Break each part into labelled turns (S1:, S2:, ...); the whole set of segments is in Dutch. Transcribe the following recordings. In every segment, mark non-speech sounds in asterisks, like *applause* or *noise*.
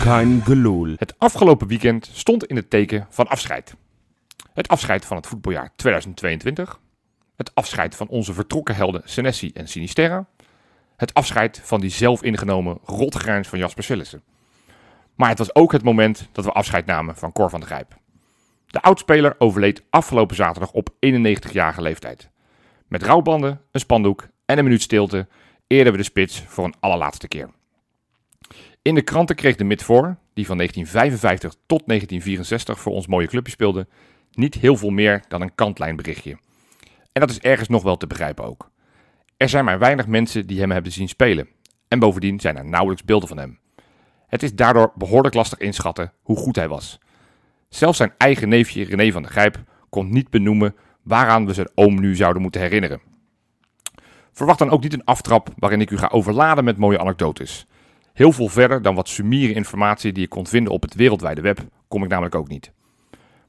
S1: Kein Gelul.
S2: Het afgelopen weekend stond in het teken van afscheid. Het afscheid van het voetbaljaar 2022. Het afscheid van onze vertrokken helden Senesi en Sinisterra. Het afscheid van die zelf ingenomen rotgrijns van Jasper Sillissen. Maar het was ook het moment dat we afscheid namen van Cor van der Grijp. De oudspeler overleed afgelopen zaterdag op 91-jarige leeftijd. Met rouwbanden, een spandoek en een minuut stilte eerden we de spits voor een allerlaatste keer. In de kranten kreeg de mid voor, die van 1955 tot 1964 voor ons mooie clubje speelde, niet heel veel meer dan een kantlijnberichtje. En dat is ergens nog wel te begrijpen ook. Er zijn maar weinig mensen die hem hebben zien spelen. En bovendien zijn er nauwelijks beelden van hem. Het is daardoor behoorlijk lastig inschatten hoe goed hij was. Zelfs zijn eigen neefje René van der Grijp kon niet benoemen waaraan we zijn oom nu zouden moeten herinneren. Verwacht dan ook niet een aftrap waarin ik u ga overladen met mooie anekdotes. Heel veel verder dan wat sumiere informatie die ik kon vinden op het wereldwijde web, kom ik namelijk ook niet.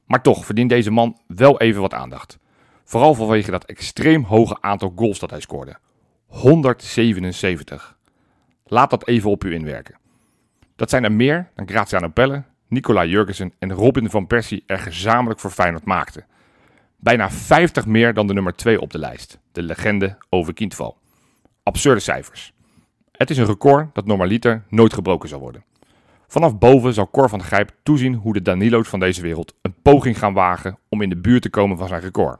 S2: Maar toch verdient deze man wel even wat aandacht. Vooral vanwege dat extreem hoge aantal goals dat hij scoorde. 177. Laat dat even op u inwerken. Dat zijn er meer dan Graziano Pelle, Nicola Jurgensen en Robin van Persie er gezamenlijk voor Feyenoord maakten. Bijna 50 meer dan de nummer 2 op de lijst, de legende over Kindval. Absurde cijfers. Het is een record dat normaliter nooit gebroken zal worden. Vanaf boven zal Cor van der Grijp toezien hoe de Danilo's van deze wereld een poging gaan wagen om in de buurt te komen van zijn record.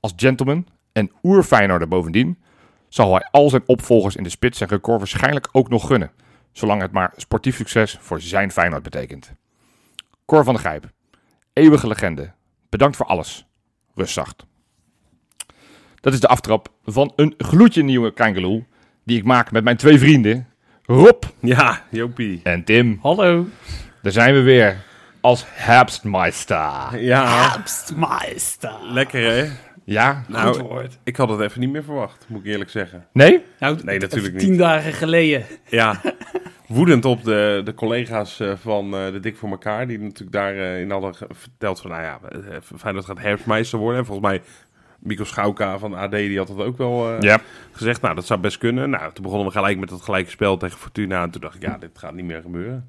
S2: Als gentleman en oerfijnerder bovendien, zal hij al zijn opvolgers in de spits zijn record waarschijnlijk ook nog gunnen, zolang het maar sportief succes voor zijn Feyenoord betekent. Cor van der Grijp, eeuwige legende, bedankt voor alles. Rustzacht. Dat is de aftrap van een gloedje nieuwe Kangeloel, die ik maak met mijn twee vrienden, Rob
S1: Ja, Jopie.
S2: en Tim.
S3: Hallo.
S2: Daar zijn we weer als Herbstmeister.
S3: Ah.
S1: Ja,
S3: Abstmeister.
S1: lekker hè?
S2: Ja?
S3: Goed
S1: Nou,
S3: woord.
S1: ik had het even niet meer verwacht, moet ik eerlijk zeggen.
S2: Nee?
S3: Nou,
S1: Nee, natuurlijk
S3: even tien
S1: niet.
S3: dagen geleden.
S1: Ja, woedend op de, de collega's eh, van eh, de Dik voor elkaar, die natuurlijk daarin hadden ge- verteld van, nou ja, eh, Feyenoord gaat herfstmeister worden. En volgens mij, Mikkel Schouka van AD, die had dat ook wel eh,
S2: Ja.
S1: gezegd. Nou, dat zou best kunnen. Nou, toen begonnen we gelijk met dat gelijke spel tegen Fortuna. En toen dacht ik, ja, dit gaat niet meer gebeuren.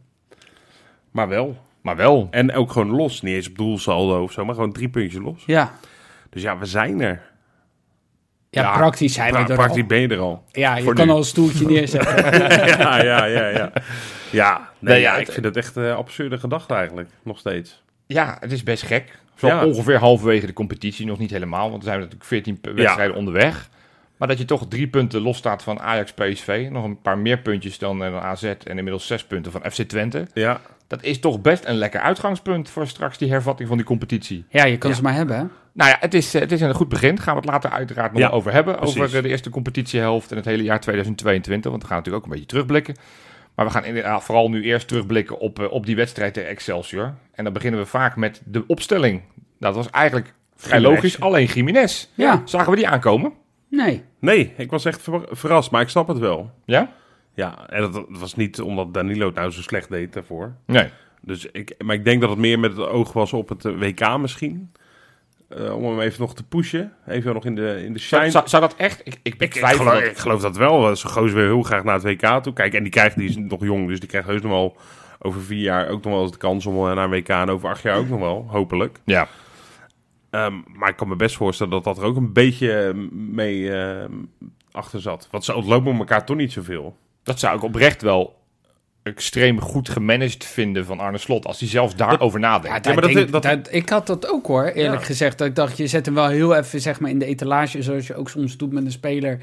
S1: Maar wel.
S2: Maar wel.
S1: En ook gewoon los. Niet eens op doelsaldo of zo, maar gewoon drie puntjes los.
S3: Ja.
S1: Dus ja, we zijn er.
S3: Ja,
S2: Ja,
S3: praktisch zijn
S1: Pra
S3: we er
S1: praktisch
S3: al.
S1: ben je er al.
S3: Ja, je
S1: voor
S3: kan
S1: nu.
S3: al een stoeltje neerzetten.
S1: *laughs* ja, ja, ja, ja. Ja, nee,
S2: Nee,
S1: ja,
S2: het-
S1: ik vind het echt een absurde gedachte eigenlijk. Nog steeds.
S2: Ja, het is best gek. Zo
S1: Ja.
S2: ongeveer halverwege de competitie, nog niet helemaal, want er zijn natuurlijk 14 pe- wedstrijden onderweg. Maar dat je toch drie punten losstaat van Ajax PSV, nog een paar meer puntjes dan, eh, dan AZ en inmiddels zes punten van FC Twente.
S1: Ja,
S2: Dat is toch best een lekker uitgangspunt voor straks die hervatting van die competitie.
S3: Ja, je kan ze maar hebben. hè?
S2: Nou ja, het is, eh, het is een goed begin. Gaan we het later uiteraard nog
S1: Ja,
S2: wel over hebben.
S1: precies.
S2: Over eh, de eerste competitiehelft en het hele jaar 2022. Want we gaan natuurlijk ook een beetje terugblikken. Maar we gaan inderdaad vooral nu eerst terugblikken op, eh, op die wedstrijd tegen Excelsior. En dan beginnen we vaak met de opstelling. Dat was eigenlijk vrij
S1: Gimenez.
S2: logisch. Alleen Jiménez.
S3: Ja.
S2: Zagen we die aankomen?
S3: Nee.
S1: nee, ik was echt ver- verrast, maar ik snap het wel.
S2: Ja?
S1: Ja, en dat, dat was niet omdat Danilo het nou zo slecht deed daarvoor.
S2: Nee.
S1: Dus ik, maar ik denk dat het meer met het oog was op het eh, WK misschien. Eh, om hem even nog te pushen. Even nog in de, in de shine.
S2: Zou, zou, zou dat echt... Ik, ik
S1: ik, ik,
S2: betwijfel
S1: geloof,
S2: dat.
S1: ik geloof dat wel. Eh, Ze gozer weer heel graag naar het WK toe. Kijk, en die, krijgt, die is nog jong, dus die krijgt heus nog wel over vier jaar ook nog wel eens de kans om eh, naar een WK. En over acht jaar ook nog wel, hopelijk.
S2: Ja.
S1: Ehm, maar ik kan me best voorstellen dat dat er ook een beetje eh, mee eh, achter zat. Want ze ontlopen elkaar toch niet zoveel.
S2: Dat zou ik oprecht wel extreem goed gemanaged vinden van Arne Slot. Als hij zelfs daarover nadenkt.
S3: Ja,
S1: maar
S3: dat,
S1: dat-
S3: denk-
S1: dat-
S3: dat- ik had dat ook hoor, eerlijk
S1: Ja.
S3: gezegd. Dat ik dacht, je zet hem wel heel even zeg maar, in de etalage, zoals je ook soms doet met een speler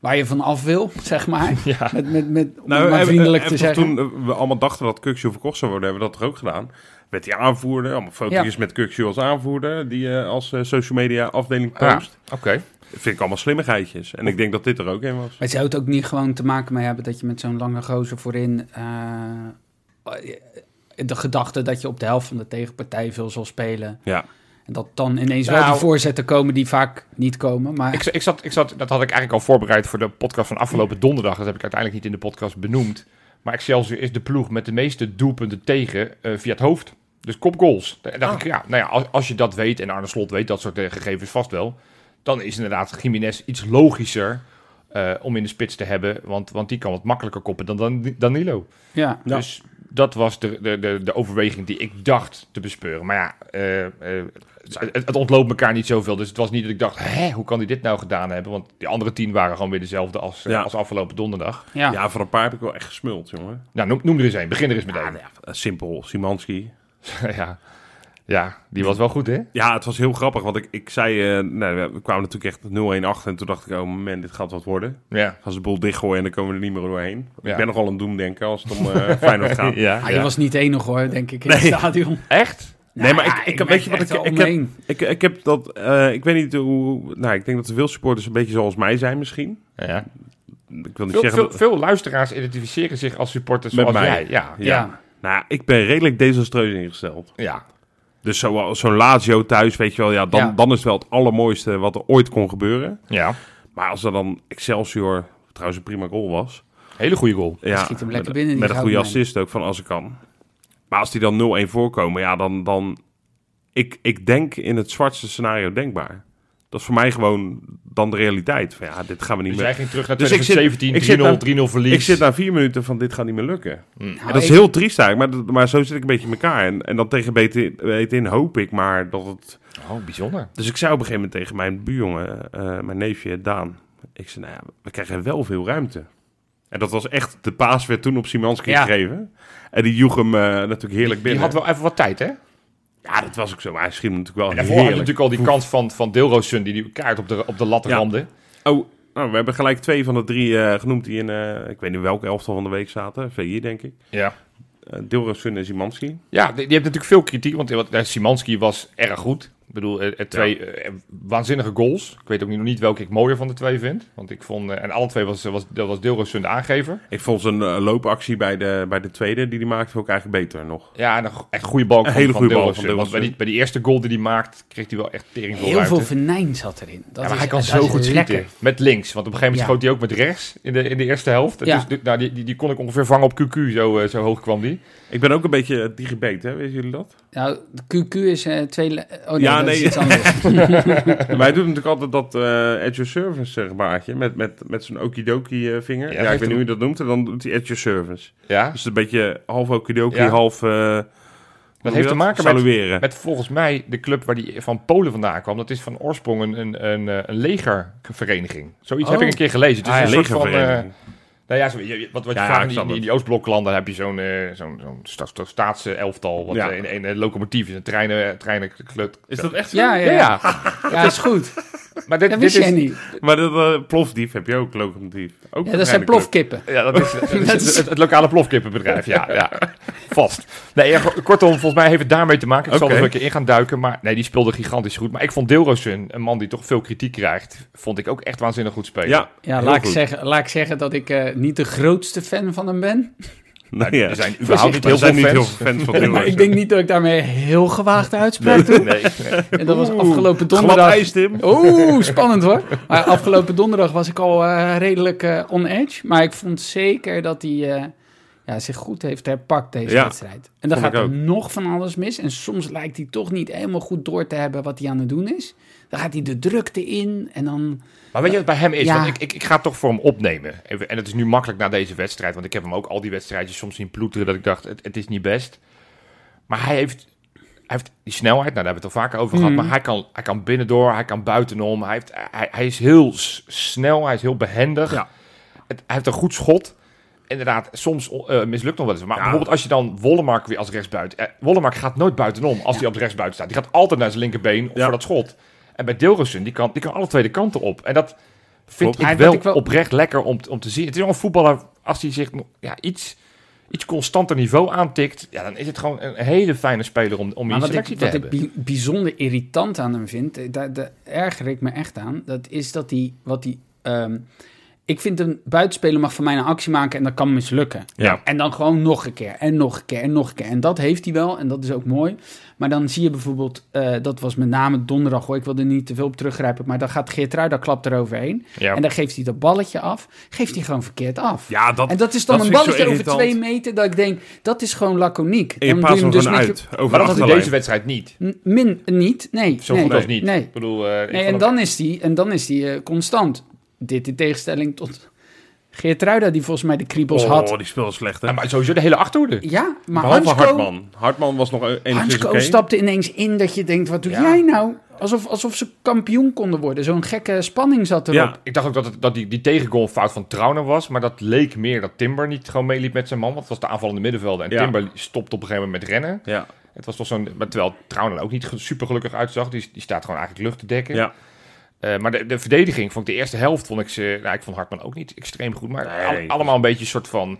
S3: waar je van af wil, *laughs* zeg maar.
S2: Ja.
S3: Met, met, met, om het maar vriendelijk te zeggen.
S1: Toen Nou, eh, we allemaal dachten dat Kukshoe verkocht zou worden, hebben we dat toch ook gedaan. Werd hij aanvoerder, allemaal foto's met Kukshoe als aanvoerder, die eh, als eh, social media afdeling
S2: Ja,
S1: post.
S2: Oké.
S1: Vind ik allemaal slimmigheidjes. En ik denk dat dit er ook een was.
S3: Maar zou het ook niet gewoon te maken mee hebben dat je met zo'n lange gozer voorin... eh, de gedachte dat je op de helft van de tegenpartij veel zal spelen.
S1: Ja,
S3: En dat dan ineens wel
S2: Nou.
S3: die voorzetten komen die vaak niet komen. Maar
S2: Ik, ik zat, ik zat, dat had ik eigenlijk al voorbereid voor de podcast van afgelopen donderdag. Dat heb ik uiteindelijk niet in de podcast benoemd. Maar Excelsior is de ploeg met de meeste doelpunten tegen eh, via het hoofd. Dus kopgoals. Daar dacht ik, ja, nou ja, als, als je dat weet en Arne Slot weet dat soort eh, gegevens vast wel. Dan is inderdaad Jiménez iets logischer eh, eh, om in de spits te hebben. Want, want die kan wat makkelijker koppen dan, dan Danilo.
S3: Ja,
S1: Ja.
S2: Dus dat was de, de, de, de overweging die ik dacht te bespeuren. Maar ja, eh, eh, het, het ontloopt elkaar niet zoveel. Dus het was niet dat ik dacht, hè, hoe kan hij dit nou gedaan hebben? Want die andere tien waren gewoon weer dezelfde als, eh,
S1: Ja.
S2: als afgelopen donderdag.
S3: ja.
S1: Ja, voor een paar heb ik wel echt gesmuld, jongen.
S2: Nou, noem, noem er eens één. Begin er eens met
S1: Ja,
S2: één.
S1: nou ja, simpel. Simanski.
S2: *laughs* ja. ja, die was wel goed, hè?
S1: Ja, het was heel grappig, want ik, ik zei... eh nou, we kwamen natuurlijk echt 0-1 achter en toen dacht ik... Oh man, dit gaat wat worden.
S2: Ja.
S1: Gaan ze de boel dichtgooien en dan komen we er niet meer doorheen.
S2: Ja.
S1: Ik ben nogal een doemdenker als het om eh *laughs* Feyenoord gaat.
S3: Ah, je was niet enig hoor, denk ik, in het stadion.
S2: Echt?
S1: Nee, maar
S3: Nou
S1: ik-
S3: ja,
S1: ik- weet
S3: merk
S1: je wat
S3: echt
S1: ik-
S3: wel
S1: ik
S3: om
S1: heb-
S3: me heen.
S1: Ik, ik heb dat... eh, ik weet niet hoe... Nou, ik denk dat er veel supporters een beetje zoals mij zijn misschien.
S2: Ja.
S1: Ik wil niet
S2: Veel,
S1: zeggen...
S2: veel,
S1: dat-
S2: veel luisteraars identificeren zich als supporters
S1: Met
S2: zoals
S1: mij.
S2: jij. Ja,
S1: ja. Nou, ik ben redelijk desastreus ingesteld.
S2: ja.
S1: Dus zo- zo'n Lazio thuis, weet je wel, ja, dan,
S3: Ja.
S1: dan is het wel het allermooiste wat er ooit kon gebeuren.
S2: ja.
S1: Maar als er dan Excelsior, trouwens een prima goal was.
S2: Hele goede goal.
S1: Ja,
S3: schiet hem
S1: met-
S3: lekker binnen, die
S1: Met een goede
S3: goudmijn.
S1: assist ook van als ik kan. Maar als die dan 0-1 voorkomen, ja, dan... dan ik, ik denk in het zwartste scenario denkbaar. Dat is voor mij gewoon dan de realiteit. Van, ja, dit gaan we niet
S2: Dus
S1: meer...
S2: jij ging terug naar
S1: Dus ik zit-
S2: 2017,
S1: ik zit
S2: 3-0,
S1: daar-
S2: 3-0 verlies.
S1: Ik zit na vier minuten van dit gaat niet meer lukken.
S3: Nou,
S1: En dat is
S3: ik-
S1: heel triest eigenlijk, maar, dat- maar zo zit ik een beetje in elkaar. En, en dan tegen beter weten in hoop ik maar dat het
S2: Oh, bijzonder.
S1: Dus ik zei op een gegeven moment tegen mijn buurjongen, eh, mijn neefje Daan. Ik zei, nou ja, we krijgen wel veel ruimte. En dat was echt, de paas werd toen op Simanski
S3: Ja.
S1: gegeven. En die joeg hem eh, natuurlijk heerlijk
S2: Die
S1: binnen.
S2: had wel even wat tijd, hè?
S1: Ja, dat was ook zo. Maar hij schiet hem natuurlijk wel
S2: En daarvoor had je
S1: heerlijk.
S2: natuurlijk al die kans van, van Deelroosun die die kaart op de, op de lat
S1: Ja.
S2: ramde.
S1: Oh, nou, we hebben gelijk twee van de drie eh, genoemd die in, eh, ik weet niet welke elftal van de week zaten. VI denk ik.
S2: Ja.
S1: Eh Dilrosun en Simanski.
S2: Ja, die, die heeft natuurlijk veel kritiek, want wat- eh, Simanski was erg goed. Ik bedoel, eh, eh, twee eh, waanzinnige goals. Ik weet ook niet, nog niet welke ik mooier van de twee vind. Want ik vond, eh, en alle twee was, was, dat was Deelroosun de aangever.
S1: Ik vond zijn eh, loopactie bij de, bij de tweede, die die maakte, ook eigenlijk beter nog.
S2: Ja, en een go- echt goede bal.
S1: Een hele goede bal van
S2: Deelroosun. Want bij
S1: Deelroosun.
S2: die, bij die eerste goal die hij maakt, kreeg hij wel echt tering veel
S3: Heel
S2: ruimte.
S3: veel venijn zat erin.
S2: ja,
S3: Dat
S2: maar
S3: is-
S2: hij kan
S3: dat
S2: zo
S3: is
S2: goed
S3: lekker.
S2: schieten. Met links. Want op een gegeven moment schoot
S3: Ja.
S2: hij ook met rechts in de, in de eerste helft. En
S3: Ja.
S2: Dus, de- nou, die, die, die kon ik ongeveer vangen op QQ. Zo, eh, zo hoog kwam die.
S1: Ik ben ook een beetje eh, digibet, hè? Weten jullie dat?
S3: Nou, de QQ is eh, twee... le- Oh nee,
S1: Ja,
S3: dat is
S1: nee.
S3: iets
S1: *laughs*
S3: anders.
S1: Ja, Maar hij doet natuurlijk altijd dat eh at your service eh, gebaartje. Met, met, met zijn okidoki eh, vinger.
S2: Ja,
S1: Ja,
S2: geeft
S1: ik weet
S2: hem-
S1: niet hoe je dat noemt. En dan doet hij at your service.
S2: Ja.
S1: Dus een beetje half okidoki,
S2: Ja.
S1: half... eh, hoe noem je
S2: heeft te maken met-
S1: Salueren.
S2: Met volgens mij de club waar die van Polen vandaan kwam. Dat is van oorsprong een, een, een, eh, een legervereniging. Zoiets heb
S3: Oh.
S2: ik een keer gelezen. Het is
S3: Ah,
S2: een
S3: ja.
S2: soort van... eh,
S1: Legervereniging.
S2: nou ja, zo- je- je- wat, wat je
S1: Ja,
S2: vaak in
S1: ik
S2: die,
S1: snap
S2: in die Oostbloklanden heb je zo'n eh, zo'n zo'n sta- sta- staatse elftal. Wat
S1: Ja.
S2: eh, in, in, een locomotief is een treinen, treinenkleur.
S1: Is dat echt zo?
S3: Ja, ja,
S2: Ja,
S3: ja.
S2: ja.
S3: Ja, is
S1: *laughs*
S3: goed.
S2: Maar dit,
S3: Dat
S2: dit
S3: wist jij
S2: is...
S3: niet.
S1: Maar dat eh, plofdief heb je ook, locomotief. Ook
S3: Ja,
S1: een
S3: dat zijn
S1: trein-
S3: plofkippen.
S2: Ja, dat *laughs* is, dat is
S3: Dat is-
S2: het, het lokale plofkippenbedrijf. Ja, ja. vast. Nee, ja, go- kortom, volgens mij heeft het daarmee te maken. Ik zal
S1: Oké.
S2: er een keer in gaan duiken. Maar nee, die speelde gigantisch goed. Maar ik vond Deelroosun, een man die toch veel kritiek krijgt, vond ik ook echt waanzinnig goed spelen. *laughs*
S1: Ja,
S3: Ja,
S1: heel
S3: laat ik,
S1: goed.
S3: zeggen, laat ik zeggen dat ik eh, niet de grootste fan van hem ben.
S1: Nou,
S2: *laughs*
S1: ja.
S2: Er zijn überhaupt niet
S1: Er
S2: heel
S1: zijn
S2: veel
S1: niet heel
S2: fans.
S1: veel fans van
S3: Maar
S1: Deelroos.
S3: *laughs* ik denk niet dat ik daarmee heel gewaagd uitspraak doe.
S2: Nee, nee.
S3: En dat was
S1: Oeh,
S3: afgelopen
S1: Glad
S3: donderdag.
S1: ijs, Tim.
S3: Oeh, spannend hoor. Maar afgelopen donderdag was ik al eh, redelijk eh, on edge. Maar ik vond zeker dat hij eh, ja, zich goed heeft herpakt deze
S1: Ja,
S3: wedstrijd. En dan
S1: vond
S3: gaat
S1: ik
S3: er
S1: ook.
S3: nog van alles mis. En soms lijkt hij toch niet helemaal goed door te hebben wat hij aan het doen is. Dan gaat hij de drukte in en dan...
S2: Maar weet je wat bij hem is?
S3: Ja.
S2: Want ik, ik, ik ga het toch voor hem opnemen. Even, en het is nu makkelijk na deze wedstrijd. Want ik heb hem ook al die wedstrijdjes soms zien ploeteren. Dat ik dacht, het, het is niet best. Maar hij heeft, hij heeft die snelheid. Nou, daar hebben we het al vaker over gehad.
S3: Mhm.
S2: Maar hij kan, hij kan binnendoor, hij kan buitenom. Hij, heeft, hij, hij is heel s- snel, hij is heel behendig.
S1: Ja.
S2: Het, hij heeft een goed schot. Inderdaad, soms eh, mislukt nog wel eens. Maar
S1: Ja.
S2: bijvoorbeeld als je dan Wollemark weer als rechtsbuiten... eh, Wollemark gaat nooit buitenom als hij op de rechtsbuiten staat. Die gaat altijd naar zijn linkerbeen
S1: Ja.
S2: voor dat schot. En bij Dilrosun, die kan, die kan alle twee de kanten op. En dat
S1: Klopt.
S2: vind ik,
S3: Ja, dat
S2: wel
S3: ik wel-
S2: oprecht lekker om, t- om te zien. Het is wel een voetballer, als hij zich nog- ja, iets, iets constanter niveau aantikt... Ja, dan is het gewoon een hele fijne speler om, om in
S3: Maar
S2: je
S3: wat
S2: selectie
S3: ik,
S2: te
S3: wat ik
S2: hebben.
S3: bi- bijzonder irritant aan hem vind, eh, daar, daar erger ik me echt aan. Dat is dat hij, wat hij, ehm, ik vind een buitenspeler mag van mij een actie maken en dat kan mislukken.
S1: Ja.
S3: En dan gewoon nog een keer en nog een keer en nog een keer. En dat heeft hij wel en dat is ook mooi. Maar dan zie je bijvoorbeeld, eh, dat was met name donderdag hoor, ik wil er niet te veel op teruggrijpen. Maar dan gaat Geert Ruida klapt eroverheen.
S2: Ja.
S3: En dan geeft hij dat balletje af, geeft hij gewoon verkeerd af.
S1: Ja, dat...
S3: en dat is dan
S1: dat
S3: een
S1: vind ik zo
S3: balletje over
S1: irritant.
S3: twee meter dat ik denk, dat is gewoon laconiek.
S1: en je
S3: Dan
S1: paast
S3: doe
S1: hem
S3: je hem
S1: gewoon
S3: dus met je-
S1: uit. Over
S2: Maar
S1: de
S2: dat had hij
S1: achterlijn.
S2: deze wedstrijd niet.
S3: N- Min, niet, nee.
S2: Zo
S3: nee,
S2: goed als niet.
S3: Nee.
S2: Ik bedoel, eh, ik
S3: Nee,
S2: vond
S3: en
S2: hem-
S3: dan is die, en dan is die eh, constant. Dit in tegenstelling tot Geertruida, die volgens mij de kriebels
S1: oh,
S3: had.
S1: die speelde slecht, hè?
S2: Ja, maar sowieso de hele achterhoede.
S3: Ja, maar
S1: Behalve
S3: Hansko,
S1: Hartman. Hartman was nog e- enigszins oké.
S3: Hansko stapte ineens in dat je denkt, wat doe
S2: Ja.
S3: jij nou? Alsof, alsof ze kampioen konden worden. Zo'n gekke spanning zat erop.
S1: Ja,
S2: Ik dacht ook dat, het- dat die, die tegengoal fout van Trauner was. Maar dat leek meer dat Timber niet gewoon meeliep met zijn man. Want het was de aanvallende middenvelder. En
S1: Ja.
S2: Timber stopte op een gegeven moment met rennen.
S1: ja,
S2: Het was toch zo'n... maar Terwijl Trauner er ook niet super gelukkig uitzag. Die, die staat gewoon eigenlijk lucht te dekken.
S1: ja.
S2: Eh, maar de, de verdediging vond ik de eerste helft vond ik ze. Nou, ik vond Hartman ook niet extreem goed, maar
S1: Nee,
S2: al-
S1: nee.
S2: allemaal een beetje soort van.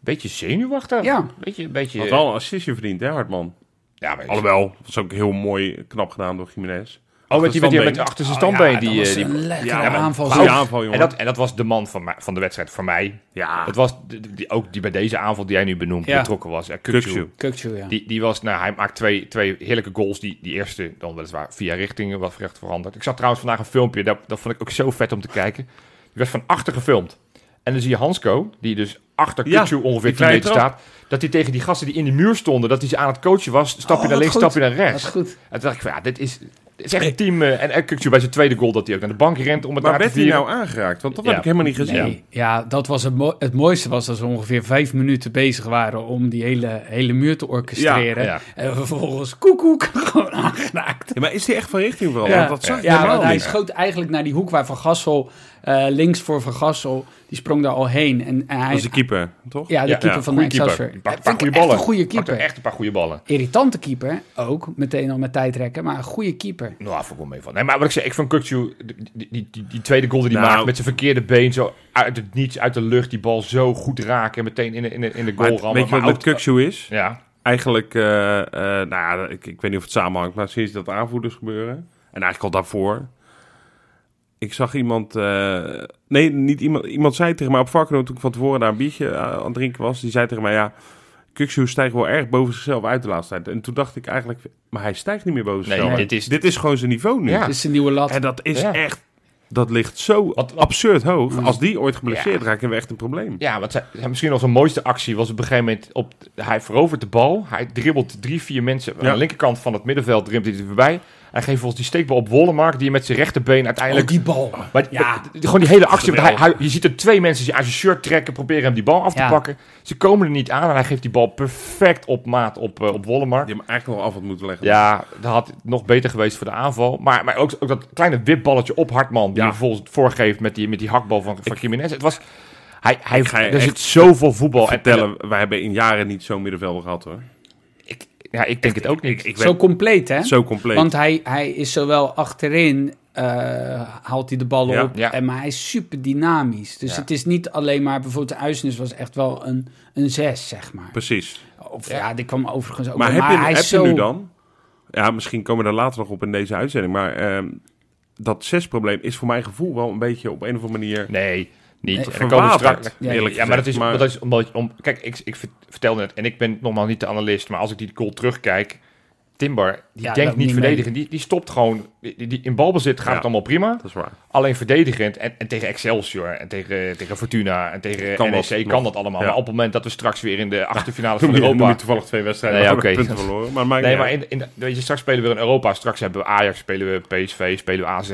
S2: Beetje zenuwachtig.
S3: Ja.
S2: Beetje, een beetje.
S1: Had wel een assistje verdiend, hè, Hartman?
S2: ja, maar
S1: Alhoewel, was ook heel mooi knap gedaan door Jiménez.
S2: Oh, met die, met die met die achter zijn standbeen.
S3: Dat
S2: die,
S3: was
S2: eh, die- Oh.
S3: een lekkere
S1: ja, maar-
S3: aanval.
S1: Goeie
S3: zeg.
S1: aanval, jongen.
S2: en, dat, en dat was de man van, mij- van de wedstrijd voor mij.
S1: Ja,
S2: Het was de- de- die, ook die bij deze aanval die jij nu benoemt
S3: Ja.
S2: betrokken was. Ja, Kukçu.
S1: Kukçu.
S3: Kukçu, ja.
S2: Die, die was, nou, hij maakt twee, twee heerlijke goals. Die, die eerste dan weliswaar via richtingen wat recht veranderd. Ik zag trouwens vandaag een filmpje, dat, dat vond ik ook zo vet om te kijken. Die werd van achter gefilmd. En dan zie je Hansko, die dus achter
S1: Ja,
S2: Kutsu ongeveer
S1: die
S2: 10
S1: kleine
S2: meter
S1: trap.
S2: staat. Dat hij tegen die gasten die in de muur stonden, dat hij ze aan het coachen was. Stap je
S3: Oh,
S2: naar
S3: wat
S2: links,
S3: goed.
S2: stap je naar
S3: Dat is
S2: rechts. En
S3: goed.
S2: toen dacht ik van, ja, dit is, dit is echt een team. eh, en en Kukçu bij zijn tweede goal dat hij ook naar de bank rent om het
S1: maar
S2: daar te
S1: werd hij
S2: vieren.
S1: nou aangeraakt? Want dat
S2: Ja.
S1: heb ik helemaal niet gezien.
S3: Nee, Dus ja, dat was het, mo- het mooiste was dat ze ongeveer vijf minuten bezig waren om die hele, hele muur te orchestreren.
S2: Ja, ja.
S3: En vervolgens koekoek *laughs* gewoon aangeraakt.
S1: Ja, maar is hij echt van richting vooral?
S3: Ja.
S1: Want dat zag ik
S3: Ja,
S1: helemaal
S3: want hij
S1: niet.
S3: schoot eigenlijk naar die hoek waar Van Gassel, eh, links voor Van Gassel, die sprong daar al heen. En, en hij,
S1: Dat is de keeper, toch?
S3: ja, de
S2: Ja,
S3: keeper
S2: ja,
S3: van
S2: goeie
S3: Excelsior.
S2: keeper. Een
S3: Ja,
S2: paar,
S3: vind
S2: paar
S3: ik
S2: goede
S3: echt
S2: ballen.
S3: een goede
S2: Pakte
S3: keeper.
S2: Echt een paar goede ballen.
S3: Irritante keeper, ook meteen al met tijdrekken, maar een goede keeper.
S2: Nou, vond ik wel mee van. Nee, maar wat ik zei, ik vond Kukçu, die, die, die, die tweede goal die hij
S1: Nou.
S2: maakt met zijn verkeerde been, zo uit het niets, uit de lucht, die bal zo goed raken en meteen in de, in de, in de
S1: Maar
S2: goal
S1: het-
S2: rammen.
S1: weet je
S2: Maar
S1: wat met
S2: ook-
S1: Kukzu is?
S2: Ja,
S1: Eigenlijk, eh, eh, nou ja, ik, ik weet niet of het samenhangt, maar sinds dat aanvoerders gebeuren, en eigenlijk al daarvoor, ik zag iemand, eh, nee, niet iemand, iemand zei tegen mij op Varkenoord toen ik van tevoren daar een biertje eh, aan het drinken was, die zei tegen mij, ja, Kukzu stijgt wel erg boven zichzelf uit de laatste tijd. En toen dacht ik eigenlijk, maar hij stijgt niet meer boven zichzelf
S2: nee,
S1: uit.
S2: dit is-
S1: dit is gewoon zijn niveau nu.
S2: Ja.
S3: Dit is een nieuwe lat.
S1: En dat is
S2: Ja.
S1: echt, dat ligt zo
S2: Wat- wat-
S1: absurd hoog. Als die ooit geblesseerd
S2: Ja.
S1: raakt, hebben we echt een probleem.
S3: Hmm.
S2: ja want zij, zij- misschien wel zijn mooiste actie was op een gegeven moment, op, hij verovert de bal, hij dribbelt drie, vier mensen aan
S1: Ja.
S2: de linkerkant van het middenveld, dribbelt hij er voorbij. Hij geeft volgens die steekbal op Wollemark, die met zijn rechterbeen uiteindelijk...
S3: Oh, die bal.
S2: Maar
S3: Ja.
S2: d- d- gewoon die hele actie. want Hij,
S1: Geweldig.
S2: hij- je ziet er twee mensen die aan zijn shirt trekken, proberen hem die bal af te
S3: Ja.
S2: pakken. Ze komen er niet aan en hij geeft die bal perfect op maat op, eh, op Wollemar.
S1: Die hem eigenlijk nog af had moeten leggen.
S2: Ja, dat had nog beter geweest voor de aanval. Maar, maar ook, ook dat kleine wipballetje op Hartman, die
S1: Ja.
S2: hem vervolgens voorgeeft met die, met die hakbal van, van Jiménez. Het was... Hij, hij,
S1: ga je
S2: er
S1: echt
S2: zit zoveel voetbal. En, en,
S1: vertellen, wij hebben in jaren niet zo'n middenvelder gehad hoor.
S2: ik, ja, ik denk het ook niet.
S1: Ik
S3: Zo
S1: weet
S3: compleet, hè?
S1: zo compleet.
S3: Want hij, hij is zowel achterin, eh, haalt hij de ballen
S1: Ja.
S3: op,
S2: Ja.
S3: En, maar hij is super dynamisch. Dus
S2: Ja.
S3: het is niet alleen maar, bijvoorbeeld Uisnes was echt wel een, een zes, zeg maar.
S1: Precies.
S3: Of
S2: Ja.
S3: ja, die kwam overigens ook.
S1: Maar,
S3: wel,
S1: heb, je,
S3: Oh, hij
S1: heb
S3: is zo...
S1: je nu dan? Ja, misschien komen we daar later nog op in deze uitzending. Maar ehm, dat zesprobleem is voor mijn gevoel wel een beetje op een of andere manier.
S2: Nee, niet.
S3: Nee,
S2: En dan komen we
S1: verwaterd,
S2: straks-
S1: eerlijk
S2: ja,
S1: gezegd.
S2: maar dat is,
S1: Maar-
S2: Dat is omdat je om. Kijk, ik, ik ver- vertelde het en ik ben normaal niet de analist, maar als ik die goal terugkijk, Timber die
S3: Ja,
S2: denkt
S3: dat
S2: niet
S3: niet
S2: verdedigend, die, die stopt gewoon. Die, die, in balbezit gaat
S1: Ja.
S2: het allemaal prima.
S1: Dat is *laughs* waar.
S2: Alleen verdedigend en, en tegen Excelsior en tegen, tegen Fortuna en tegen
S1: Kan
S2: NEC
S1: dat nog.
S2: kan dat allemaal.
S1: Ja.
S2: Maar op het moment dat we straks weer in
S1: *laughs*
S2: de achterfinale
S1: Toen
S2: van
S1: Europa.
S2: Europa.
S1: nu toevallig twee wedstrijden
S2: Nee,
S1: nee,
S2: ja, oké.
S1: punten verloren. Maar, maakt
S2: Nee,
S1: niet
S2: maar
S1: uit.
S2: in, in, weet je, straks spelen we weer in Europa. Straks hebben we Ajax, spelen we PSV, spelen we AZ.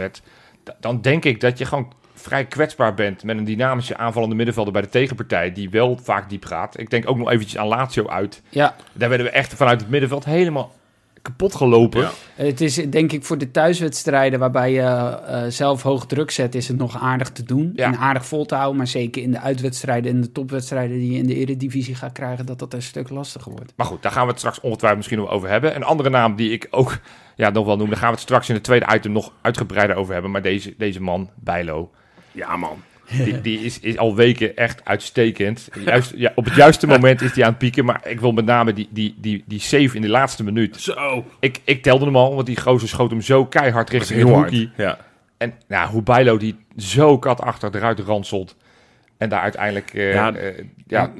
S2: Da- Dan denk ik dat je gewoon vrij kwetsbaar bent met een dynamische aanvallende middenvelder bij de tegenpartij, die wel vaak diep gaat. Ik denk ook nog eventjes aan Lazio uit.
S3: Ja,
S2: Daar werden we echt vanuit het middenveld helemaal kapot gelopen.
S1: Ja.
S3: het is denk ik voor de thuiswedstrijden waarbij je eh, zelf hoog druk zet, is het nog aardig te doen.
S2: Ja.
S3: En aardig vol te houden. Maar zeker in de uitwedstrijden en de topwedstrijden die je in de eredivisie gaat krijgen, dat dat een stuk lastiger wordt.
S2: Maar goed, daar gaan we het straks ongetwijfeld misschien nog over hebben. Een andere naam die ik ook ja, nog wel noem, daar gaan we het straks in het tweede item nog uitgebreider over hebben. Maar deze, deze man, Bijlo,
S1: Ja, man. *laughs*
S2: Die, die is, is al weken echt uitstekend. Juist, ja, op het juiste moment is hij aan het pieken. Maar ik wil met name die, die, die, die save in de laatste minuut.
S1: Zo.
S2: Ik, ik telde hem al, want die gozer schoot hem zo keihard
S1: Dat is
S2: richting
S1: heel
S2: het
S1: hard.
S2: hoekie.
S1: Ja.
S2: En nou, hoe Bijlo die zo katachtig eruit ranselt. En daar uiteindelijk... eh, eh, ja,
S1: Ja.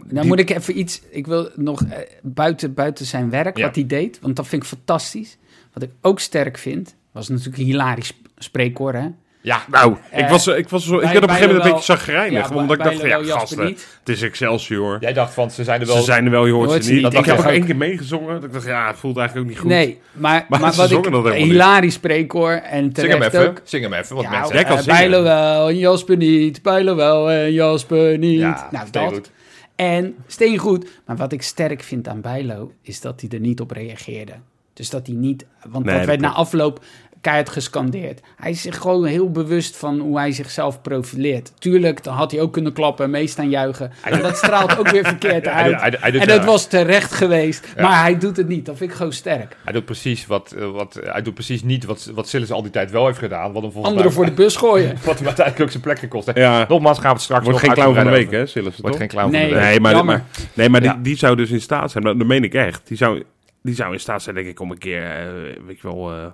S3: Nou moet ik even iets... Ik wil nog eh, buiten, buiten zijn werk
S2: Ja.
S3: wat hij deed. Want dat vind ik fantastisch. Wat ik ook sterk vind... Was natuurlijk een hilarisch sp- spreekwoord, hè?
S2: Ja,
S1: Nou, ik,
S3: Eh,
S1: was, ik, was zo, ik
S3: bij-
S1: werd op een
S3: bij
S1: gegeven moment een
S3: Lowell-
S1: beetje chagrijnig.
S3: Ja,
S1: omdat ik
S3: bij
S1: dacht van, ja,
S3: Lowell Jasper
S1: gasten,
S3: niet.
S1: het is Excelsior.
S2: jij dacht van ze zijn er wel.
S1: Ze zijn er wel, je hoort, ze niet.
S3: Dat
S1: Ik
S3: dacht
S1: heb
S3: ik
S1: ook
S3: ook.
S1: één keer meegezongen. Dat ik dacht, ja, het voelt eigenlijk ook niet goed.
S3: Nee, maar,
S1: Maar
S3: maar,
S1: ze
S3: wat ik
S1: zongen dat helemaal niet.
S3: hilarisch spreekhoor en
S2: Zing hem
S3: terecht
S2: even.
S3: ook.
S2: Zing hem even, want
S3: Ja,
S2: mensen.
S1: Jij kan
S3: eh,
S1: zingen.
S3: Bijlo wel en Jasper niet, Bijlo wel en Jasper niet.
S2: Ja,
S3: nou, dat.
S2: steengoed.
S3: En steengoed. Maar wat ik sterk vind aan Bijlo, is dat hij er niet op reageerde. Dus dat hij niet, want
S1: Nee,
S3: dat
S1: dat
S3: werd na
S1: klopt.
S3: afloop keihard gescandeerd. Hij is zich gewoon heel bewust van hoe hij zichzelf profileert. Tuurlijk, dan had hij ook kunnen klappen en meestaan juichen. En dat straalt ook
S2: *laughs*
S3: weer verkeerd
S2: Hij doet-
S3: uit.
S2: hij doet- hij doet-
S3: En
S2: ja,
S3: dat was terecht geweest, maar hij doet het niet. Dat vind ik gewoon sterk.
S2: Hij doet precies wat, eh, wat hij doet precies niet wat, wat Sillis al die tijd wel heeft gedaan. Wat hem volgens
S3: Anderen
S2: mij,
S3: voor de bus gooien.
S2: *laughs* wat hem uiteindelijk ook zijn plek gekost heeft.
S1: Ja,
S2: Nogmaals gaan we het straks
S1: wordt
S2: nog
S1: geen clown van de week,
S2: uitgebreid
S1: hè, Silas?
S2: over. Wordt
S1: toch?
S2: geen clown
S3: Nee.
S2: van de week.
S1: Nee, maar,
S3: Jammer.
S1: maar, nee, maar
S2: Ja.
S1: die, die zou dus in staat zijn. Dat, dat meen ik echt. Die zou, die zou in staat zijn, denk ik, om een keer, eh, weet je wel, eh,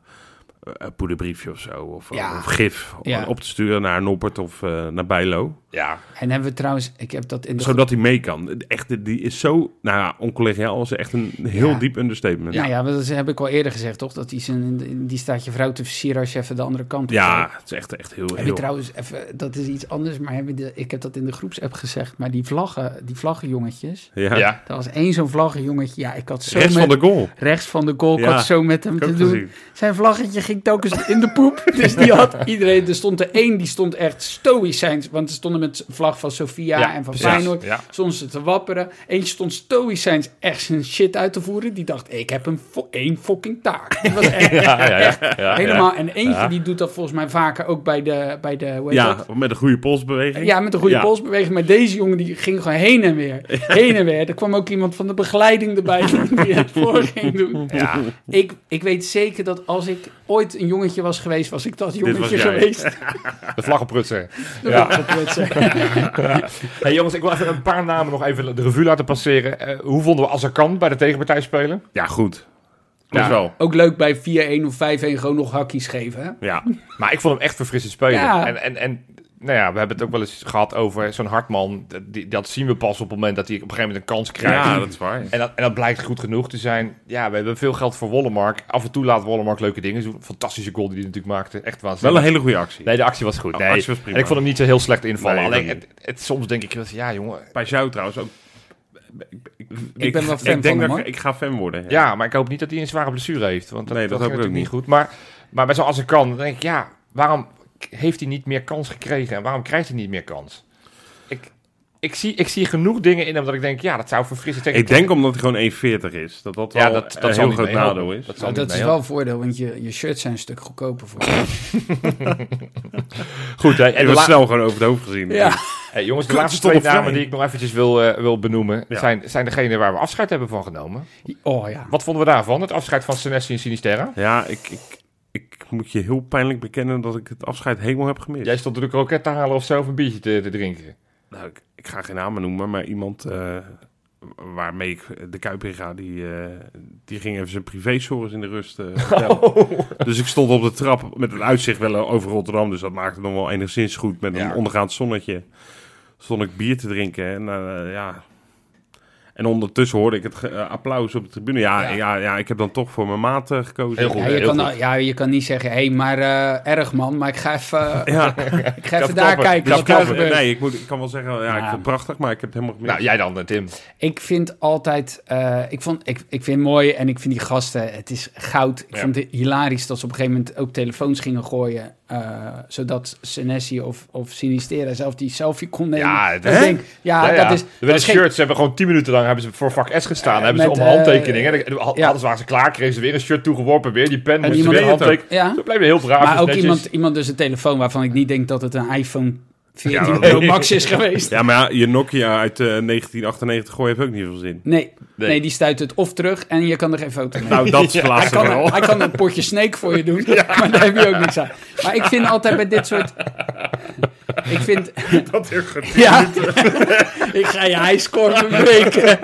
S1: een poederbriefje of zo. Of,
S3: Ja.
S1: of gif
S3: Ja.
S1: op te sturen naar Noppert of eh, naar Bijlo.
S2: Ja,
S3: En hebben we trouwens, ik heb dat in de
S1: Zodat hij mee kan. Echt, die is zo, nou ja, oncollegiaal. is echt een heel
S3: Ja.
S1: diep understatement.
S3: Nou ja, maar dat heb ik al eerder gezegd, toch? Dat die, zijn, die staat je vrouw te versieren als je even de andere kant op
S1: Ja,
S3: gaat.
S1: het is echt, echt heel...
S3: Heb je
S1: heel...
S3: trouwens even, dat is iets anders, maar heb je de, ik heb dat in de groepsapp gezegd. Maar die vlaggen, die vlaggenjongetjes,
S1: Ja.
S2: ja. ja.
S3: er was één zo'n vlaggenjongetje. Ja, ik had zo
S1: Rechts
S3: met,
S1: van de goal.
S3: rechts van de goal, ik
S1: Ja,
S3: had zo met hem
S1: Ik heb
S3: te
S1: ook
S3: doen.
S1: gezien.
S3: Zijn vlaggetje ging telkens in de poep. *laughs* Dus die had iedereen, er stond er één, die stond echt stoïcijns. Want er stonden met vlag van Sofia en van
S2: precies.
S3: Feyenoord.
S2: Ja.
S3: Soms te wapperen. Eentje stond stoïcijns echt zijn shit uit te voeren. Die dacht, ik heb een fo- één fucking taak. Dat
S2: *laughs*
S3: was echt,
S2: Ja, ja, ja, ja,
S3: helemaal. En eentje
S2: Ja.
S3: die doet dat volgens mij vaker ook bij de... Bij de hoe heet
S1: Ja,
S3: dat?
S1: met een goede polsbeweging.
S3: ja, met een goede
S1: Ja.
S3: polsbeweging. Maar deze jongen die ging gewoon heen en weer. Heen en weer. Er kwam ook iemand van de begeleiding erbij die het voor ging doen.
S2: Ja.
S3: Ik, ik weet zeker dat als ik ooit een jongetje was geweest, was ik dat
S1: was
S3: jongetje
S1: jij.
S3: geweest.
S2: De vlaggenprutser.
S3: Dat
S2: Ja.
S3: wil ik altijd zeggen.
S2: Hey jongens, ik wil even een paar namen nog even de revue laten passeren. Eh, hoe vonden we Azarkan bij de tegenpartij spelen?
S1: Ja, goed. Dat
S2: Ja.
S1: is wel.
S3: Ook leuk bij 4-1 of 5-1 gewoon nog hakjes geven. Hè?
S1: Ja,
S2: Maar ik vond hem echt verfrissend spelen.
S3: Ja.
S2: En, en, en nou ja, we hebben het ook wel eens gehad over zo'n Hartman. Dat, die- dat zien we pas op het moment dat hij op een gegeven moment een kans krijgt.
S1: ja dat is waar.
S2: En, dat, en dat blijkt goed genoeg te zijn. Ja, we hebben veel geld voor Wollemark. Af en toe laat Wollemark leuke dingen doen. Fantastische goal die hij natuurlijk maakte. Echt waanzinnig.
S1: Wel een hele goede actie.
S2: Nee, de actie was goed.
S1: Oh,
S2: Nee.
S1: actie was prima.
S2: En ik vond hem niet zo heel slecht invallen.
S1: Nee, ik
S2: Alleen,
S1: ook
S2: het, het- soms denk ik, wel eens, ja jongen.
S1: Bij jou trouwens ook. Ik,
S3: Ik ben wel fan
S1: ik denk
S3: van hem,
S1: dat
S3: hoor.
S1: ik, ik ga fan worden. ja.
S2: Ja, maar ik hoop niet dat hij een zware blessure heeft. Want dat,
S1: Nee,
S2: dat,
S1: dat
S2: ging
S1: hoop ik ook
S2: natuurlijk niet goed. Maar, maar bij zo'n Azarkan dan denk ik, ja, waarom heeft hij niet meer kans gekregen? En waarom krijgt hij niet meer kans? Ik, ik, zie, ik zie genoeg dingen in hem dat ik denk, ja, dat zou verfrissen tegen...
S1: Ik denk omdat hij gewoon 1,40 is. Dat dat wel
S2: ja, dat, dat
S1: een
S2: zal
S1: heel
S2: niet
S1: groot
S2: meehelpen.
S1: nadeel is.
S2: Dat, zal
S3: Nou,
S2: niet
S3: dat is wel
S2: meehelpen.
S3: een voordeel, want je, je shirts zijn een stuk goedkoper voor
S2: Goed, hè, en
S1: Ik
S2: de
S1: was
S2: la-
S1: snel gewoon over het hoofd gezien.
S2: hey, jongens, de
S1: Kut,
S2: laatste
S1: stond
S2: twee
S1: op vrij.
S2: namen die ik nog eventjes wil, eh, wil benoemen...
S1: Ja.
S2: Zijn, zijn degene waar we afscheid hebben van genomen.
S3: Oh ja.
S2: Wat vonden we daarvan? Het afscheid van Senesi en Sinisterra?
S1: Ja, ik, ik, ik moet je heel pijnlijk bekennen dat ik het afscheid helemaal heb gemist.
S2: Jij stond er de kroket te halen of zo, of een biertje te, te drinken.
S1: Nou, ik, ik ga geen namen noemen, maar iemand eh, waarmee ik de Kuip in ga, die, eh, die ging even zijn privézorgens in de rust
S2: *laughs*
S1: eh, vertellen.
S2: Oh.
S1: Dus ik stond op de trap met een uitzicht wel over Rotterdam, dus dat maakte dan wel enigszins goed. Met
S2: Ja.
S1: een ondergaand zonnetje stond ik bier te drinken en eh, ja... En ondertussen hoorde ik het ge- eh, applaus op de tribune. Ja,
S2: Ja.
S1: ja. Ja, ik heb dan toch voor mijn maat eh, gekozen.
S2: Heel goed.
S3: Ja, je,
S2: heel
S3: kan,
S2: goed.
S3: nou- ja, je kan niet zeggen, hé, hey, maar eh, erg man, maar ik ga even,
S2: *laughs*
S1: Ja,
S3: ik ga even daar
S2: klappen.
S3: kijken
S1: dus
S3: wat daar
S1: ik-
S3: gebeurt.
S1: nee, ik, moet, ik kan wel zeggen, ja, ik
S3: Ja.
S1: vind het prachtig, maar ik heb het helemaal gemist.
S2: Nou, jij dan, eh, Tim.
S3: Ik vind altijd, eh, ik, vond, ik, ik vind het mooi en ik vind die gasten, het is goud. Ik
S2: Ja.
S3: vond het hilarisch dat ze op een gegeven moment ook telefoons gingen gooien, eh, zodat Senesi of, of Sinistera zelf die selfie kon nemen.
S2: Ja,
S3: Ik
S2: hè?
S3: denk, ja,
S2: Ja, ja.
S3: Ah, dat is...
S2: Er
S3: dat
S2: werden
S3: is geen-
S2: shirts, ze hebben gewoon 10 minuten lang hebben ze voor vak S gestaan.
S3: Eh,
S2: hebben ze
S3: met,
S2: om
S3: eh,
S2: handtekeningen. En dan had-
S3: ja.
S2: hadden ze, waren ze klaar, kregen ze weer een shirt toegeworpen. Weer die pen, moesten ze
S3: iemand-
S2: weer handtekeningen.
S3: Ja,
S2: Ze bleven heel braaf.
S3: maar
S2: dus
S3: ook
S2: netjes.
S3: iemand, iemand dus een telefoon waarvan ik niet denk dat het een iPhone 14
S1: Ja,
S3: Pro
S1: dat-
S3: Max is geweest.
S1: Ja, maar ja, je Nokia uit eh, 1998 gooi heeft ook niet veel zin.
S3: Nee,
S2: Nee.
S3: nee. die stuit het of terug en je kan er geen foto
S1: *laughs*
S3: mee.
S1: Nou, dat
S3: *laughs*
S1: is het
S3: hij,
S1: laatste
S3: kan,
S1: wel.
S3: hij kan een potje snake voor je doen, maar daar heb je ook niks aan. Maar ik vind altijd bij dit soort... Ik vind...
S1: Dat is goed.
S3: Ja, *laughs* ik ga je highscore breken.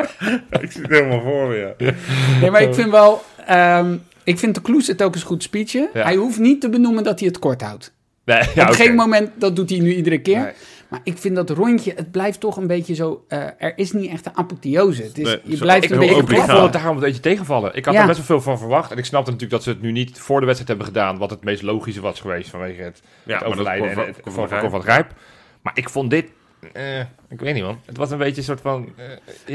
S1: Ik zit *laughs* helemaal voor me, ja.
S3: Nee, maar ik vind wel... ehm, ik vind de Kloes het ook eens goed speechen.
S2: Ja.
S3: Hij hoeft niet te benoemen dat hij het kort houdt.
S2: Nee, ja,
S3: Op
S2: oké.
S3: geen moment, dat doet hij nu iedere keer.
S2: Nee.
S3: Maar ik vind dat rondje, het blijft toch een beetje zo... eh, er is niet echt een apotheose. Het is,
S1: Nee,
S3: je
S1: zo-
S3: blijft
S1: ik-
S3: een
S1: ik-
S3: beetje
S1: ik-
S2: Ik
S1: Obligaat.
S2: vond het daarom een beetje tegenvallen. Ik had
S3: Ja.
S2: er best wel veel van verwacht. En ik snapte natuurlijk dat ze het nu niet voor de wedstrijd hebben gedaan. Wat het meest logische was geweest vanwege het,
S1: Ja,
S2: het
S1: maar dat kon-
S2: overlijden en het,
S1: kon- kon-
S2: van,
S1: kon-
S2: van, van Rijp. Maar ik vond dit... eh, ik weet niet, man. Het was een beetje een soort van... eh,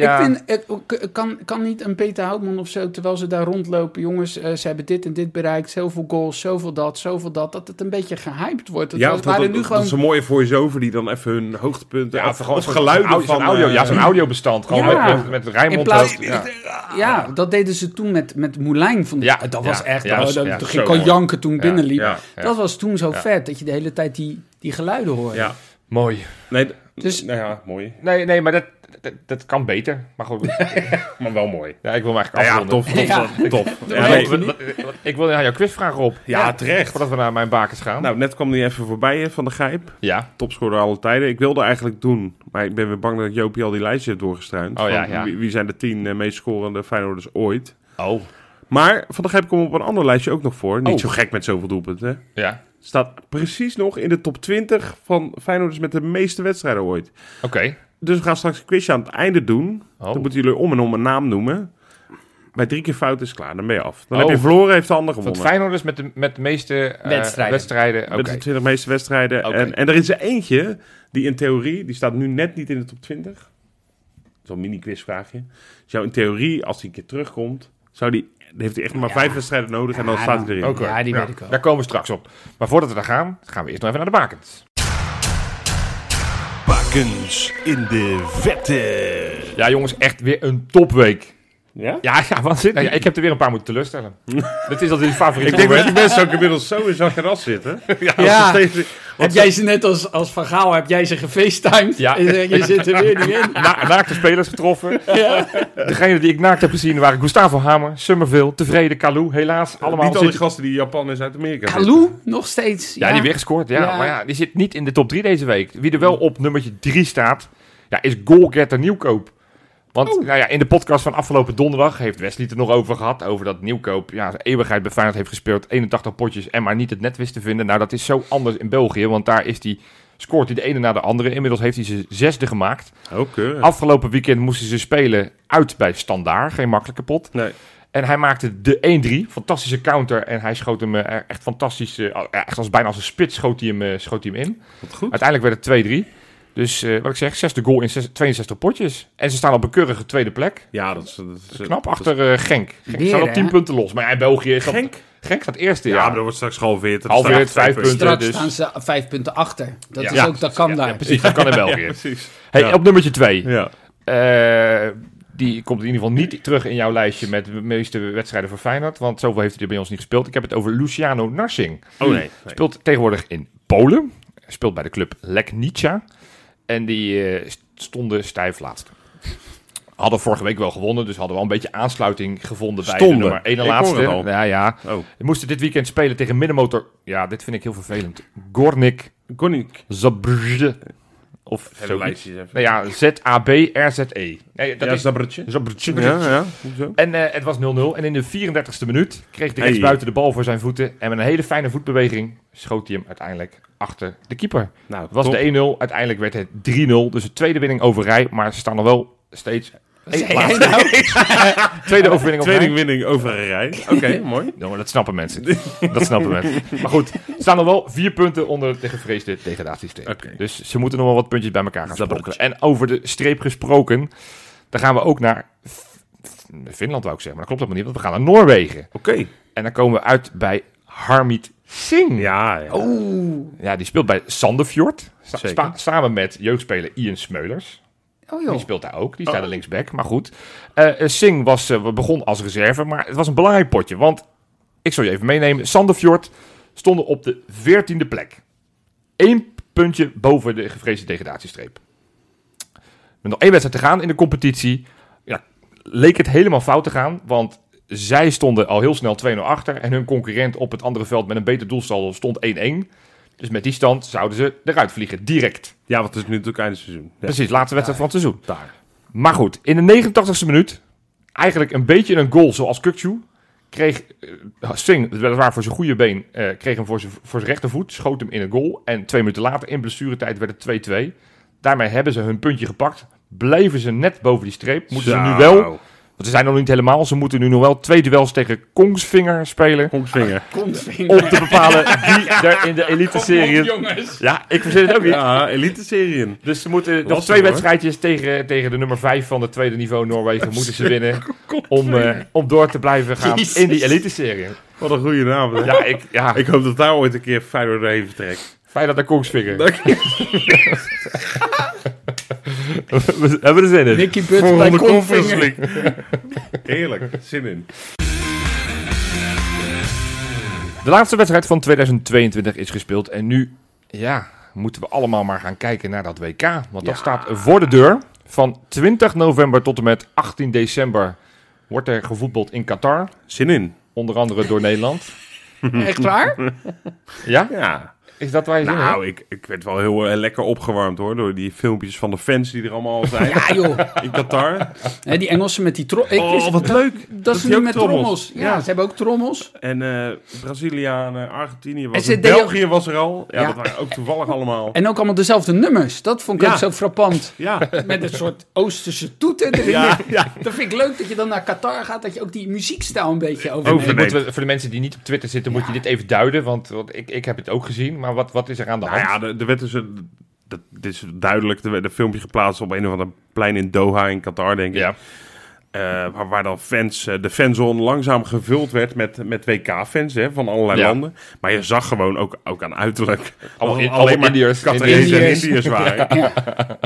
S2: ja,
S3: Ik vind, eh, k- kan, kan niet een Peter Houtman of zo, terwijl ze daar rondlopen, jongens, eh, ze hebben dit en dit bereikt, zoveel goals, zoveel dat, zoveel dat, dat het een beetje gehyped wordt. Dat
S1: ja,
S3: was,
S1: of dat,
S3: waren
S1: dat,
S3: nu
S1: dat
S3: gewoon...
S1: is een mooie voice-over die dan even hun hoogtepunten...
S2: ja,
S1: of,
S2: gewoon
S1: of
S2: zo'n
S1: geluiden
S2: audio-
S1: van...
S2: Zo'n audio,
S1: eh,
S2: ja, zo'n audiobestand. Gewoon
S3: Ja.
S2: met, met, met Rijnmond.
S3: In plaats-
S2: dat- ja.
S3: Ja, dat deden ze toen met, met Moulijn. Van,
S2: Ja,
S3: ja, dat was
S2: ja,
S3: echt...
S2: ja,
S3: oh,
S2: ja,
S3: dat,
S2: ja,
S3: toen
S1: zo
S3: ging ik al
S1: mooi.
S3: janken toen ik
S2: Ja,
S3: binnenliep.
S1: ja,
S2: ja.
S3: Dat was toen zo
S2: Ja.
S3: vet, dat je de hele tijd die, die geluiden hoorde.
S1: ja.
S2: Mooi.
S1: Nee,
S3: Dus-
S1: dus, nou ja, mooi.
S2: Nee, nee, maar dat, dat, dat kan beter. Maar
S3: *laughs*
S2: goed,
S1: Maar wel mooi.
S2: ja, ik wil hem eigenlijk
S1: Nou ja,
S2: afronden.
S1: tof, tof,
S2: *laughs*
S3: Ja.
S1: tof, tof. Ja,
S2: Ja,
S1: nee,
S2: wat- wat- wat- ik wil aan jouw quizvraag op.
S1: ja, terecht.
S2: Voordat we naar mijn bakens gaan.
S1: Nou, net kwam die even voorbij hè, van de Gijp.
S2: ja.
S1: Topscorer alle tijden. Ik wilde eigenlijk doen, maar ik ben weer bang dat Jopie al die lijstje heeft doorgestruind.
S2: Oh,
S1: Van
S2: ja, ja.
S1: Wie, wie zijn de tien eh, meest scorende Feyenoorders ooit?
S2: Oh.
S1: Maar van de Gijp komt op een ander lijstje ook nog voor. Niet
S2: Oh.
S1: zo gek met zoveel doelpunten. hè.
S2: Ja.
S1: Staat precies nog in de top 20 van Feyenoorders met de meeste wedstrijden ooit.
S2: Oké.
S1: Dus we gaan straks een quizje aan het einde doen.
S2: Oh.
S1: Dan moeten jullie om en om een naam noemen. Bij drie keer fout is klaar, dan ben je af. Dan
S2: Oh.
S1: heb je verloren, heeft de ander
S2: Van het
S1: gewonnen.
S2: Feyenoorders met de, met de meeste eh,
S3: Wedstrijden.
S2: wedstrijden. Oké.
S1: Met de 20 meeste wedstrijden.
S2: Oké.
S1: En, en er is er eentje die in theorie, die staat nu net niet in de top 20. Zo'n mini-quizvraagje. Zou in theorie, als hij een keer terugkomt, zou die, dan heeft hij echt nog maar
S3: Ja.
S1: vijf wedstrijden nodig en dan
S3: Ja,
S1: staat
S3: dan-
S1: hij erin.
S2: Oké.
S3: Ja, die weet ik wel.
S2: Daar komen we straks op. Maar voordat we daar gaan, gaan we eerst nog even naar de bakens.
S4: Bakens in de vette.
S2: Ja, jongens, echt weer een topweek.
S1: Ja?
S2: Ja, ja, waanzinnig. Ja, ik heb er weer een paar moeten
S1: *laughs*
S2: teleurstellen. Dit is altijd je favoriete
S1: Ik denk dat
S2: moment.
S1: die mensen ook inmiddels zo in zo'n ras zitten. *laughs* Ja. als
S3: Ja.
S1: ze steeds-
S3: Heb jij ze net als, als Van Gaal, heb jij ze gefacetimed?
S2: Ja.
S3: En je zegt, je zit er weer niet in.
S2: Na, naakte spelers getroffen.
S3: Ja.
S2: Degene die ik naakt heb gezien waren Gustavo Hamer, Summerville, Tevreden, Kalou. Helaas, allemaal
S1: Niet al die
S2: zitten-
S1: gasten die in Japan en Zuid-Amerika zitten.
S3: Kalou, nog steeds.
S2: Ja, die weer gescoord. Ja.
S3: Ja.
S2: Maar ja, die zit niet in de top 3 deze week. Wie er wel op nummertje 3 staat, ja, is goalgetter Nieuwkoop. Want nou ja, in de podcast van afgelopen donderdag heeft Wesley het er nog over gehad. Over dat Nieuwkoop ja, zijn eeuwigheid bij Feyenoord heeft gespeeld. 81 potjes en maar niet het net wist te vinden. Nou, dat is zo anders in België. Want daar is die, scoort hij de ene na de andere. Inmiddels heeft hij zijn zesde gemaakt.
S1: Ook, eh, keurig.
S2: Afgelopen weekend moesten ze spelen uit bij Standaar. Geen makkelijke pot.
S1: Nee.
S2: En hij maakte de 1-3. Fantastische counter. En hij schoot hem eh, echt fantastisch. eh, Echt als, bijna als een spits schoot hij hem, eh, schoot hij hem in.
S1: Wat goed.
S2: Uiteindelijk werd het 2-3. Dus eh, wat ik zeg, zesde goal in zes- 62 potjes. En ze staan op een keurige tweede plek.
S1: Ja, dat is... Dat is
S2: Knap achter eh, Genk. Genk
S3: Weer,
S2: staat op
S3: hè?
S2: 10 punten los. Maar ja, in België is dat-
S1: Genk?
S2: Genk staat eerste.
S1: Ja,
S2: Ja,
S1: maar dat wordt straks gehalveerd. Dat
S2: Halveerd,
S1: staat
S2: vijf punten.
S3: Straks
S2: dus-
S3: staan ze vijf punten achter. Dat
S2: Ja.
S3: is
S2: Ja,
S3: ook, dat kan daar.
S2: precies. Dat kan in België.
S1: Precies. *laughs*
S2: hey,
S1: Ja.
S2: Op nummertje 2.
S1: Ja.
S2: Eh, die komt in ieder geval niet terug in jouw lijstje met de meeste wedstrijden voor Feyenoord. Want zoveel heeft hij er bij ons niet gespeeld. Ik heb het over Luciano Narsing.
S1: Oh nee. nee.
S2: Speelt tegenwoordig in Polen. Speelt bij de club Legnica. En die eh, st- stonden stijf laatst. Hadden vorige week wel gewonnen, dus hadden wel een beetje aansluiting gevonden bij
S1: Stonden.
S2: de nummer 1
S1: Ik hoor
S2: laatste.
S1: het al.
S2: Ja, ja.
S1: Oh,
S2: Die moesten dit weekend spelen tegen middenmotor. Ja, dit vind ik heel vervelend. Gornik
S1: kon ik.
S2: Zabrze. Of
S1: Hele
S2: zoiets.
S1: lijstjes even.
S2: Nou ja, Z-A-B-R-Z-E. E. Nee, dat
S1: ja,
S2: is
S1: Zabrtje.
S2: Zabrze.
S1: Ja, ja. Hoezo?
S2: En eh, het was 0-0. En in de 34ste minuut kreeg de
S1: Hey.
S2: rechtsbuiten buiten de bal voor zijn voeten. En met een hele fijne voetbeweging schoot hij hem uiteindelijk achter de keeper.
S1: Nou,
S2: Het was
S1: top.
S2: de 1-0. Uiteindelijk werd het 3-0. Dus de tweede winning over rij. Maar ze staan nog wel steeds... één
S3: Zei
S2: plaats.
S3: jij nou?
S2: *laughs* Tweede overwinning op
S1: Tweede
S2: rij.
S1: winning over een
S2: *laughs*
S1: rij. Oké, mooi.
S2: Ja, maar dat snappen mensen. Dat snappen mensen. Maar goed, ze staan nog wel vier punten onder de gevreesde degradatiestreep.
S1: Oké.
S2: Dus ze moeten nog wel wat puntjes bij elkaar gaan
S1: Dat
S2: sprokkelen. En over de streep gesproken, dan gaan we ook naar F- F- Finland, wou ik zeggen. Maar dat klopt helemaal niet, want we gaan naar Noorwegen.
S1: Oké.
S2: En dan komen we uit bij Harmit Singh.
S1: Ja,
S2: Oh.
S1: ja.
S3: Oeh.
S2: Ja, die speelt bij Sandefjord. Sa-
S1: Zeker.
S2: spa- samen met jeugdspeler Ian Smeulers.
S3: Oh
S2: Die
S3: joh.
S2: speelt daar ook. Die staat er linksback. Maar goed. Eh, eh, Singh was, eh, begon als reserve. Maar het was een belangrijk potje. Want ik zal je even meenemen. Sandefjord stonden op de 14e plek. Eén puntje boven de gevreesde degradatiestreep. Met nog één wedstrijd te gaan in de competitie. Ja, leek het helemaal fout te gaan. Want zij stonden al heel snel 2-0 achter. En hun concurrent op het andere veld met een beter doelsaldo stond 1-1. Dus met die stand zouden ze eruit vliegen. Direct.
S1: Ja, want het is nu natuurlijk einde seizoen. Ja.
S2: Precies, laatste wedstrijd van het seizoen.
S1: Daar.
S2: Maar goed, in de 89ste minuut, eigenlijk een beetje een goal zoals Kukcu, Kreeg eh, Singh, weliswaar voor zijn goede been, eh, kreeg hem voor zijn, voor zijn rechtervoet. Schoot hem in het goal. En twee minuten later, in blessuretijd, werd het 2-2. Daarmee hebben ze hun puntje gepakt. Blijven ze net boven die streep. Moeten ze nu wel, want ze zijn nog niet helemaal. Ze moeten nu nog wel twee duels tegen Kongsvinger spelen.
S1: Kongsvinger.
S3: Kongsvinger.
S2: Om te bepalen wie er in de elite-serie...
S3: jongens.
S2: Ja, ik verzin het ook niet.
S1: Ja, elite serieën.
S2: Dus ze moeten nog
S1: Lastig,
S2: twee
S1: hoor.
S2: wedstrijdjes tegen, tegen de nummer 5 van het tweede niveau Noorwegen moeten
S1: *laughs*
S2: ze winnen. Om, eh, om door te blijven gaan
S3: Jezus.
S2: in die elite-serie.
S1: Wat een goede naam. hè?
S2: Ja, ik,
S1: *laughs*
S2: ja,
S1: Ik hoop dat daar ooit een keer Feyenoord heen vertrekt.
S2: fijn dat naar Kongsvinger.
S1: Dank
S2: *laughs* We hebben er zin in.
S3: Nicky Butt
S1: Voor *laughs*
S3: bij
S1: de Conference
S3: Kongsvinger.
S1: League. *laughs* Heerlijk. Zin in.
S2: De laatste wedstrijd van 2022 is gespeeld. En nu ja, moeten we allemaal maar gaan kijken naar dat WK. Want dat staat voor de deur. Van 20 november tot en met 18 december wordt er gevoetbald in Qatar.
S1: Zin in.
S2: Onder andere door Nederland.
S3: Echt waar?
S2: Ja?
S1: Ja.
S2: Is dat waar je zin in hebt?
S1: Nou, ik, ik werd wel heel eh, lekker opgewarmd hoor. Door die filmpjes van de fans die er allemaal al zijn.
S3: *laughs* Ja, joh.
S1: In Qatar.
S3: Hè, die Engelsen met die trommels.
S1: Oh, wat leuk.
S3: Dat,
S1: Dat
S3: is
S1: die
S3: nu
S1: ook
S3: met trommels.
S1: trommels.
S3: Ja,
S1: Ja.
S3: ze hebben ook trommels.
S1: En eh Brazilianen, Argentinië
S3: En
S1: was
S3: ze
S1: er.
S3: deden-
S1: België was er al. Ja,
S3: Ja.
S1: dat waren ook toevallig allemaal.
S3: En ook allemaal dezelfde nummers. Dat vond ik
S1: Ja.
S3: ook zo frappant.
S1: Ja.
S3: Met een soort Oosterse toeter erin.
S1: Ja, ja.
S3: Dat vind ik leuk dat je dan naar Qatar gaat. Dat je ook die muziekstijl een beetje
S2: Ook
S3: overneemt.
S1: Overneemt.
S2: moeten we, voor de mensen die niet op Twitter zitten, moet je dit even duiden. Want, want ik, ik heb het ook gezien. Maar wat, wat is er aan de
S1: Nou
S2: hand?
S1: ja, er er werd dus een... Dat, dit is duidelijk. Er werd een filmpje geplaatst op een of ander plein in Doha in Qatar, denk ik.
S2: Ja.
S1: Eh, waar, waar dan fans, eh, de fanzone langzaam gevuld werd met, met WK-fans hè, van allerlei
S2: Ja.
S1: landen. Maar je zag gewoon ook, ook aan uiterlijk
S2: Allemaal,
S1: dat
S2: in,
S1: het
S2: allemaal Indiërs.
S1: Qatarese en
S3: Indiërs.
S1: Indiërs waren.
S3: Ja.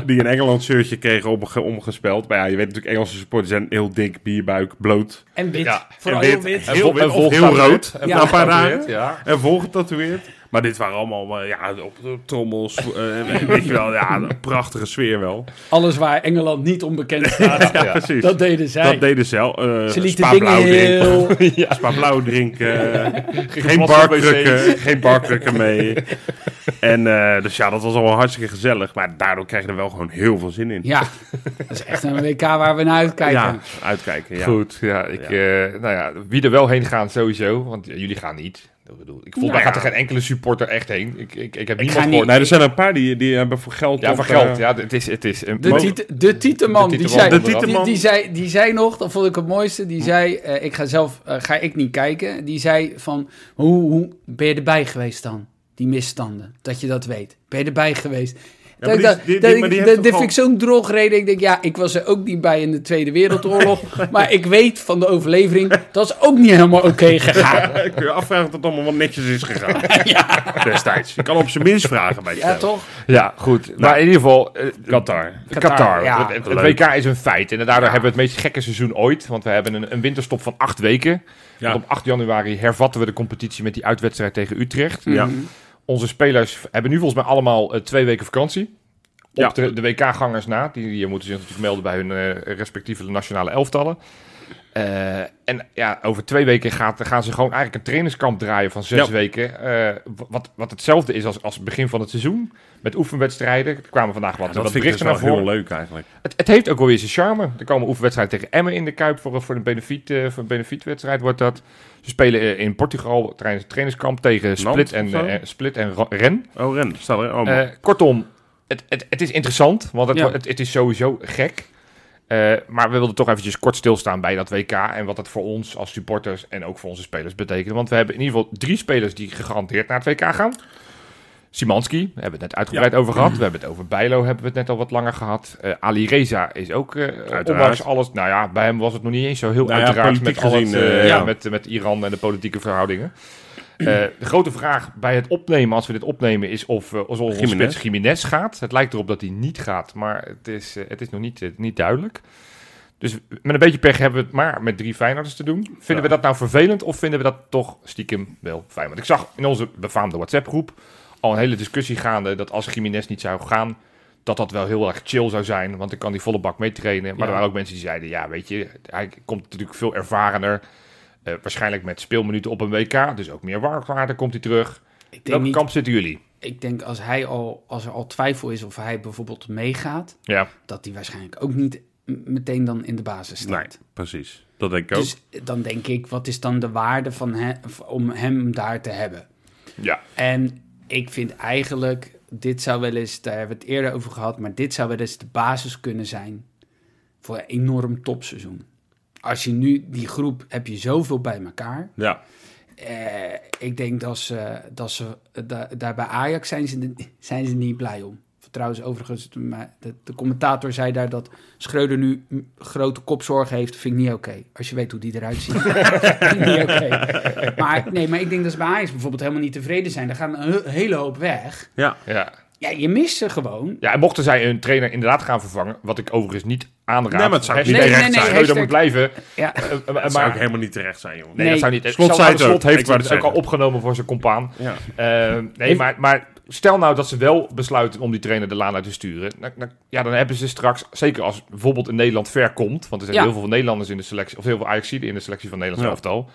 S1: Die een Engeland shirtje kregen omge- omgespeld. Maar ja, je weet natuurlijk, Engelse supporters zijn heel dik, bierbuik, bloot.
S3: En wit.
S2: Ja.
S3: Vooral
S1: En wit.
S3: heel wit.
S1: En heel wit of heel rood.
S3: Ja.
S1: Na een paar dagen.
S2: Ja.
S1: En volgetatoeëerd. Maar dit waren allemaal eh, ja, op, op trommels. eh, *laughs* weet je wel, ja, een prachtige sfeer wel.
S3: Alles waar Engeland niet onbekend staat.
S1: Ja, precies.
S3: Dat deden zij.
S1: Dat deden ze al. eh,
S3: Ze lieten
S1: Spa
S3: dingen eh,
S1: Blauw drinken.
S3: heel...
S1: *laughs* Spa Blauw drinken. eh, geen
S2: Geen
S1: barkrukken. geen barkrukken mee. En eh, dus ja, dat was allemaal hartstikke gezellig. Maar daardoor krijg je er wel gewoon heel veel zin in.
S3: Ja, dat is echt een WK waar we naar uitkijken.
S1: Ja, uitkijken. Ja.
S2: Goed, ja, ik, eh, nou ja, wie er wel heen gaan sowieso, want ja, jullie gaan niet. Ik bedoel, ik volgens mij
S1: Nou
S2: gaat er
S1: ja.
S2: geen enkele supporter echt heen. Ik, ik, ik heb
S3: ga
S2: niemand
S3: niet.
S2: gehoord.
S1: Nee, er zijn een paar die, die hebben voor geld.
S2: Ja,
S1: op,
S2: van
S1: eh, *laughs*
S2: geld. Ja, het is, het is een
S3: De,
S1: Mo-
S3: tiet, de Tieteman,
S2: De
S3: die,
S2: Tieteman
S3: zei,
S1: De
S3: die,
S1: Tieteman. Hm.
S3: die, zei, die zei nog, dat vond ik het mooiste, die zei, eh, ik ga zelf, eh, ga ik niet kijken. Die zei van, hoe, hoe ben je erbij geweest dan, die misstanden, dat je dat weet? Ben je erbij geweest?
S1: maar
S3: Dat ik
S1: die-
S3: dat-
S1: die- die-
S3: dat ik-
S1: maar die
S3: dat-
S1: heeft
S3: dat
S1: toch
S3: vind ik
S1: al-
S3: zo'n drogreden. Ik denk, ja, ik was er ook niet bij in de Tweede Wereldoorlog.
S1: *laughs*
S3: Maar ik weet van de overlevering, dat is ook niet helemaal oké gegaan.
S1: Kun je afvragen of het allemaal wat netjes is gegaan. Destijds. Je kan op zijn minst vragen bij
S3: Ja,
S1: jezelf.
S3: toch?
S2: Ja, goed. maar in ieder geval, eh,
S1: Nou, Qatar.
S2: Qatar.
S3: Qatar, ja.
S2: Het, het
S1: Leuk.
S2: WK is een feit. En daardoor hebben we het meest gekke seizoen ooit. Want we hebben een, een winterstop van acht weken.
S1: Ja.
S2: Want op 8 januari hervatten we de competitie met die uitwedstrijd tegen Utrecht. Mm.
S1: Ja.
S2: Onze spelers hebben nu volgens mij allemaal eh, twee weken vakantie. Op
S1: Ja.
S2: de, de WK-gangers na. Die, die moeten zich natuurlijk melden bij hun eh, respectieve nationale elftallen. Eh, en ja, over twee weken gaat, gaan ze gewoon eigenlijk een trainingskamp draaien van zes
S1: Ja.
S2: weken. eh, wat, wat hetzelfde is als, als het begin van het seizoen. Met oefenwedstrijden. Er kwamen vandaag wat,
S1: Ja,
S2: wat
S1: dat vind ik dus
S2: berichten
S1: wel
S2: naar voren.
S1: heel leuk eigenlijk.
S2: Het, het heeft ook wel weer zijn charme. Er komen oefenwedstrijden tegen Emmen in de Kuip voor, voor, een, benefiet, eh, voor een benefietwedstrijd wordt dat. Ze spelen eh, in Portugal tijdens het trainingskamp tegen Split en,
S1: of zo?
S2: eh, Split en Ro- Ren.
S1: Oh, Ren, staat er. Oh,
S2: Eh, kortom, het, het, het is interessant, want het,
S3: Ja.
S2: wordt- het, het is sowieso gek. Eh, maar we wilden toch eventjes kort stilstaan bij dat WK en wat dat voor ons als supporters en ook voor onze spelers betekent. Want we hebben in ieder geval drie spelers die gegarandeerd naar het WK gaan. Simanski, daar hebben we het net uitgebreid over gehad. We hebben het over Bijlo, hebben we het net al wat langer gehad. Eh, Ali Reza is ook, eh, ondanks alles... Nou ja, bij hem was het nog niet eens zo heel
S1: Nou ja,
S2: uiteraard met,
S1: politiek
S2: al het,
S1: gezien,
S2: eh,
S1: eh,
S2: ja,
S1: ja.
S2: Met, met Iran en de politieke verhoudingen. Eh, de grote vraag bij het opnemen, als we dit opnemen, is of, eh, of onze
S1: Gimenez.
S2: spits Jiménez gaat. Het lijkt erop dat hij niet gaat, maar het is, eh, het is nog niet, eh, niet duidelijk. Dus met een beetje pech hebben we het maar met drie Feyenoorders te doen. Vinden
S1: Ja.
S2: we dat nou vervelend of vinden we dat toch stiekem wel fijn? Want ik zag in onze befaamde WhatsApp-groep al een hele discussie gaande dat als Jiménez niet zou gaan, dat dat wel heel erg chill zou zijn. Want dan kan die volle bak meetrainen. Maar
S3: Ja.
S2: er waren ook mensen die zeiden, ja weet je, hij komt natuurlijk veel ervarener. eh, waarschijnlijk met speelminuten op een WK, dus ook meer waarde komt hij terug.
S3: Ik denk,
S2: Welke
S3: niet,
S2: kamp zitten jullie?
S3: ik denk als, hij al, als er al twijfel is of hij bijvoorbeeld meegaat...
S2: Ja.
S3: dat die waarschijnlijk ook niet m- meteen dan in de basis staat.
S1: precies. Dat denk ik ook.
S3: Dus dan denk ik, wat is dan de waarde van he- om hem daar te hebben?
S2: Ja.
S3: En ik vind eigenlijk, dit zou wel eens, daar hebben we het eerder over gehad, maar dit zou wel eens de basis kunnen zijn voor een enorm topseizoen. Als je nu die groep heb je zoveel bij elkaar.
S1: ja.
S3: Eh, ik denk dat ze, dat ze da- daar bij Ajax zijn ze, de- zijn ze niet blij om. Trouwens, overigens, maar de, de commentator zei daar dat Schreuder nu m- grote kopzorgen heeft. Vind ik niet oké. Als je weet hoe die eruit ziet. *laughs* Vind ik niet oké. Maar, nee, maar ik denk dat ze bij Ajax bijvoorbeeld helemaal niet tevreden zijn. Er gaan een he- hele hoop weg.
S1: ja.
S2: Ja.
S3: Ja, je mist ze gewoon.
S2: ja, en mochten zij hun trainer inderdaad gaan vervangen, wat ik overigens niet aanraad.
S1: Nee, maar het zou
S2: Hashtag
S1: niet
S3: terecht zijn.
S2: Schreuder
S3: Nee,
S2: moet blijven.
S3: Ja,
S2: Eh, eh,
S1: Dat zou
S2: maar,
S1: ook helemaal niet terecht zijn, jongen.
S2: nee,
S3: Nee.
S2: dat zou niet.
S1: Slot
S2: Slot,
S1: zei het
S2: slot
S1: ook.
S2: heeft
S1: Ik wou
S2: het
S1: het
S2: ook al
S1: zeggen.
S2: opgenomen voor zijn compaan.
S1: Ja.
S2: Eh, nee, maar, maar stel nou dat ze wel besluiten om die trainer de laan uit te sturen. Dan, dan- ja, dan hebben ze straks, zeker als bijvoorbeeld in Nederland ver komt, want er zijn
S3: Ja.
S2: heel veel Nederlanders in de selectie, of heel veel Ajaxiden in de selectie van Nederlands
S1: Ja.
S2: elftal.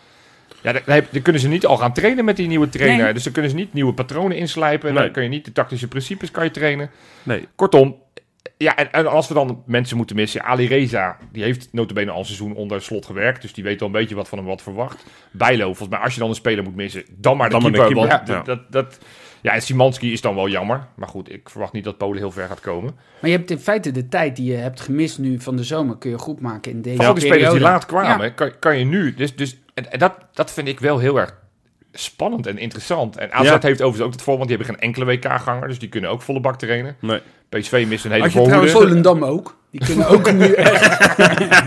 S2: Ja, dan, dan heb- dan kunnen ze niet al gaan trainen met die nieuwe trainer.
S3: Nee.
S2: Dus dan kunnen ze niet nieuwe patronen inslijpen.
S1: Nee.
S2: Dan kun je niet de tactische principes kan je trainen.
S1: Nee.
S2: Kortom, ja, en, en als we dan mensen moeten missen, Ali Reza, die heeft notabene al een seizoen onder slot gewerkt, dus die weet al een beetje wat van hem wat verwacht. Bijlo, volgens mij, als je dan een speler moet missen, dan maar de
S1: Dan maar de
S2: keeper,
S1: keeper,
S2: want
S1: ja.
S2: d- dat, dat, ja, en Simanski is dan wel jammer, maar goed, ik verwacht niet dat Polen heel ver gaat komen.
S3: maar je hebt in feite de tijd die je hebt gemist nu van de zomer... kun je goed maken in deze
S2: Van al die spelers die
S3: periode.
S2: laat kwamen, kan, kan je nu, dus, dus en, en dat, dat vind ik wel heel erg spannend en interessant. En AZ
S1: Ja.
S2: heeft overigens ook het voor, want die hebben geen enkele WK-ganger, dus die kunnen ook volle bak trainen.
S1: Nee.
S2: PSV mist een hele
S1: Had je
S2: voorhoede,
S1: trouwens
S2: dus
S3: Volendam ook. Die kunnen
S2: *laughs*
S3: ook nu echt...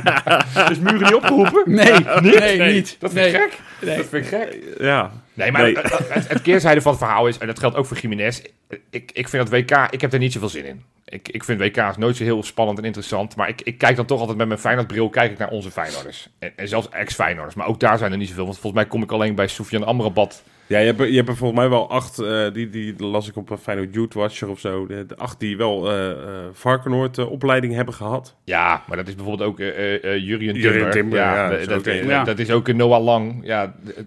S2: muren niet opgeroepen.
S3: Nee, nee, niet.
S2: Dat vind
S3: nee.
S2: ik gek. Dat vind ik gek.
S1: Ja.
S2: Nee, maar
S1: Nee.
S2: Het, het keerzijde van het verhaal is, en dat geldt ook voor Jiménez, ik, ik vind dat WK, ik heb er niet zoveel zin in. Ik, ik vind WK's nooit zo heel spannend en interessant, maar ik, ik kijk dan toch altijd met mijn Feyenoordbril kijk ik naar onze Feyenoorders. En, en zelfs ex-Feyenoorders, maar ook daar zijn er niet zoveel, want volgens mij kom ik alleen bij Sofian Amrabat.
S1: Ja, je hebt, er- je hebt er volgens mij wel acht, eh, die, die las ik op een Feyenoord Youth Watcher of zo, de, de acht die wel eh eh, Varkenoord eh, opleiding hebben gehad.
S2: Ja, maar dat is bijvoorbeeld ook eh eh, eh, Jurien
S1: Jurien
S2: Timber.
S1: Timber, ja, dat
S2: dat,
S1: is
S2: dat,
S1: ook een.
S2: dat- dat is ook een Noah Lang. Ja, d- d-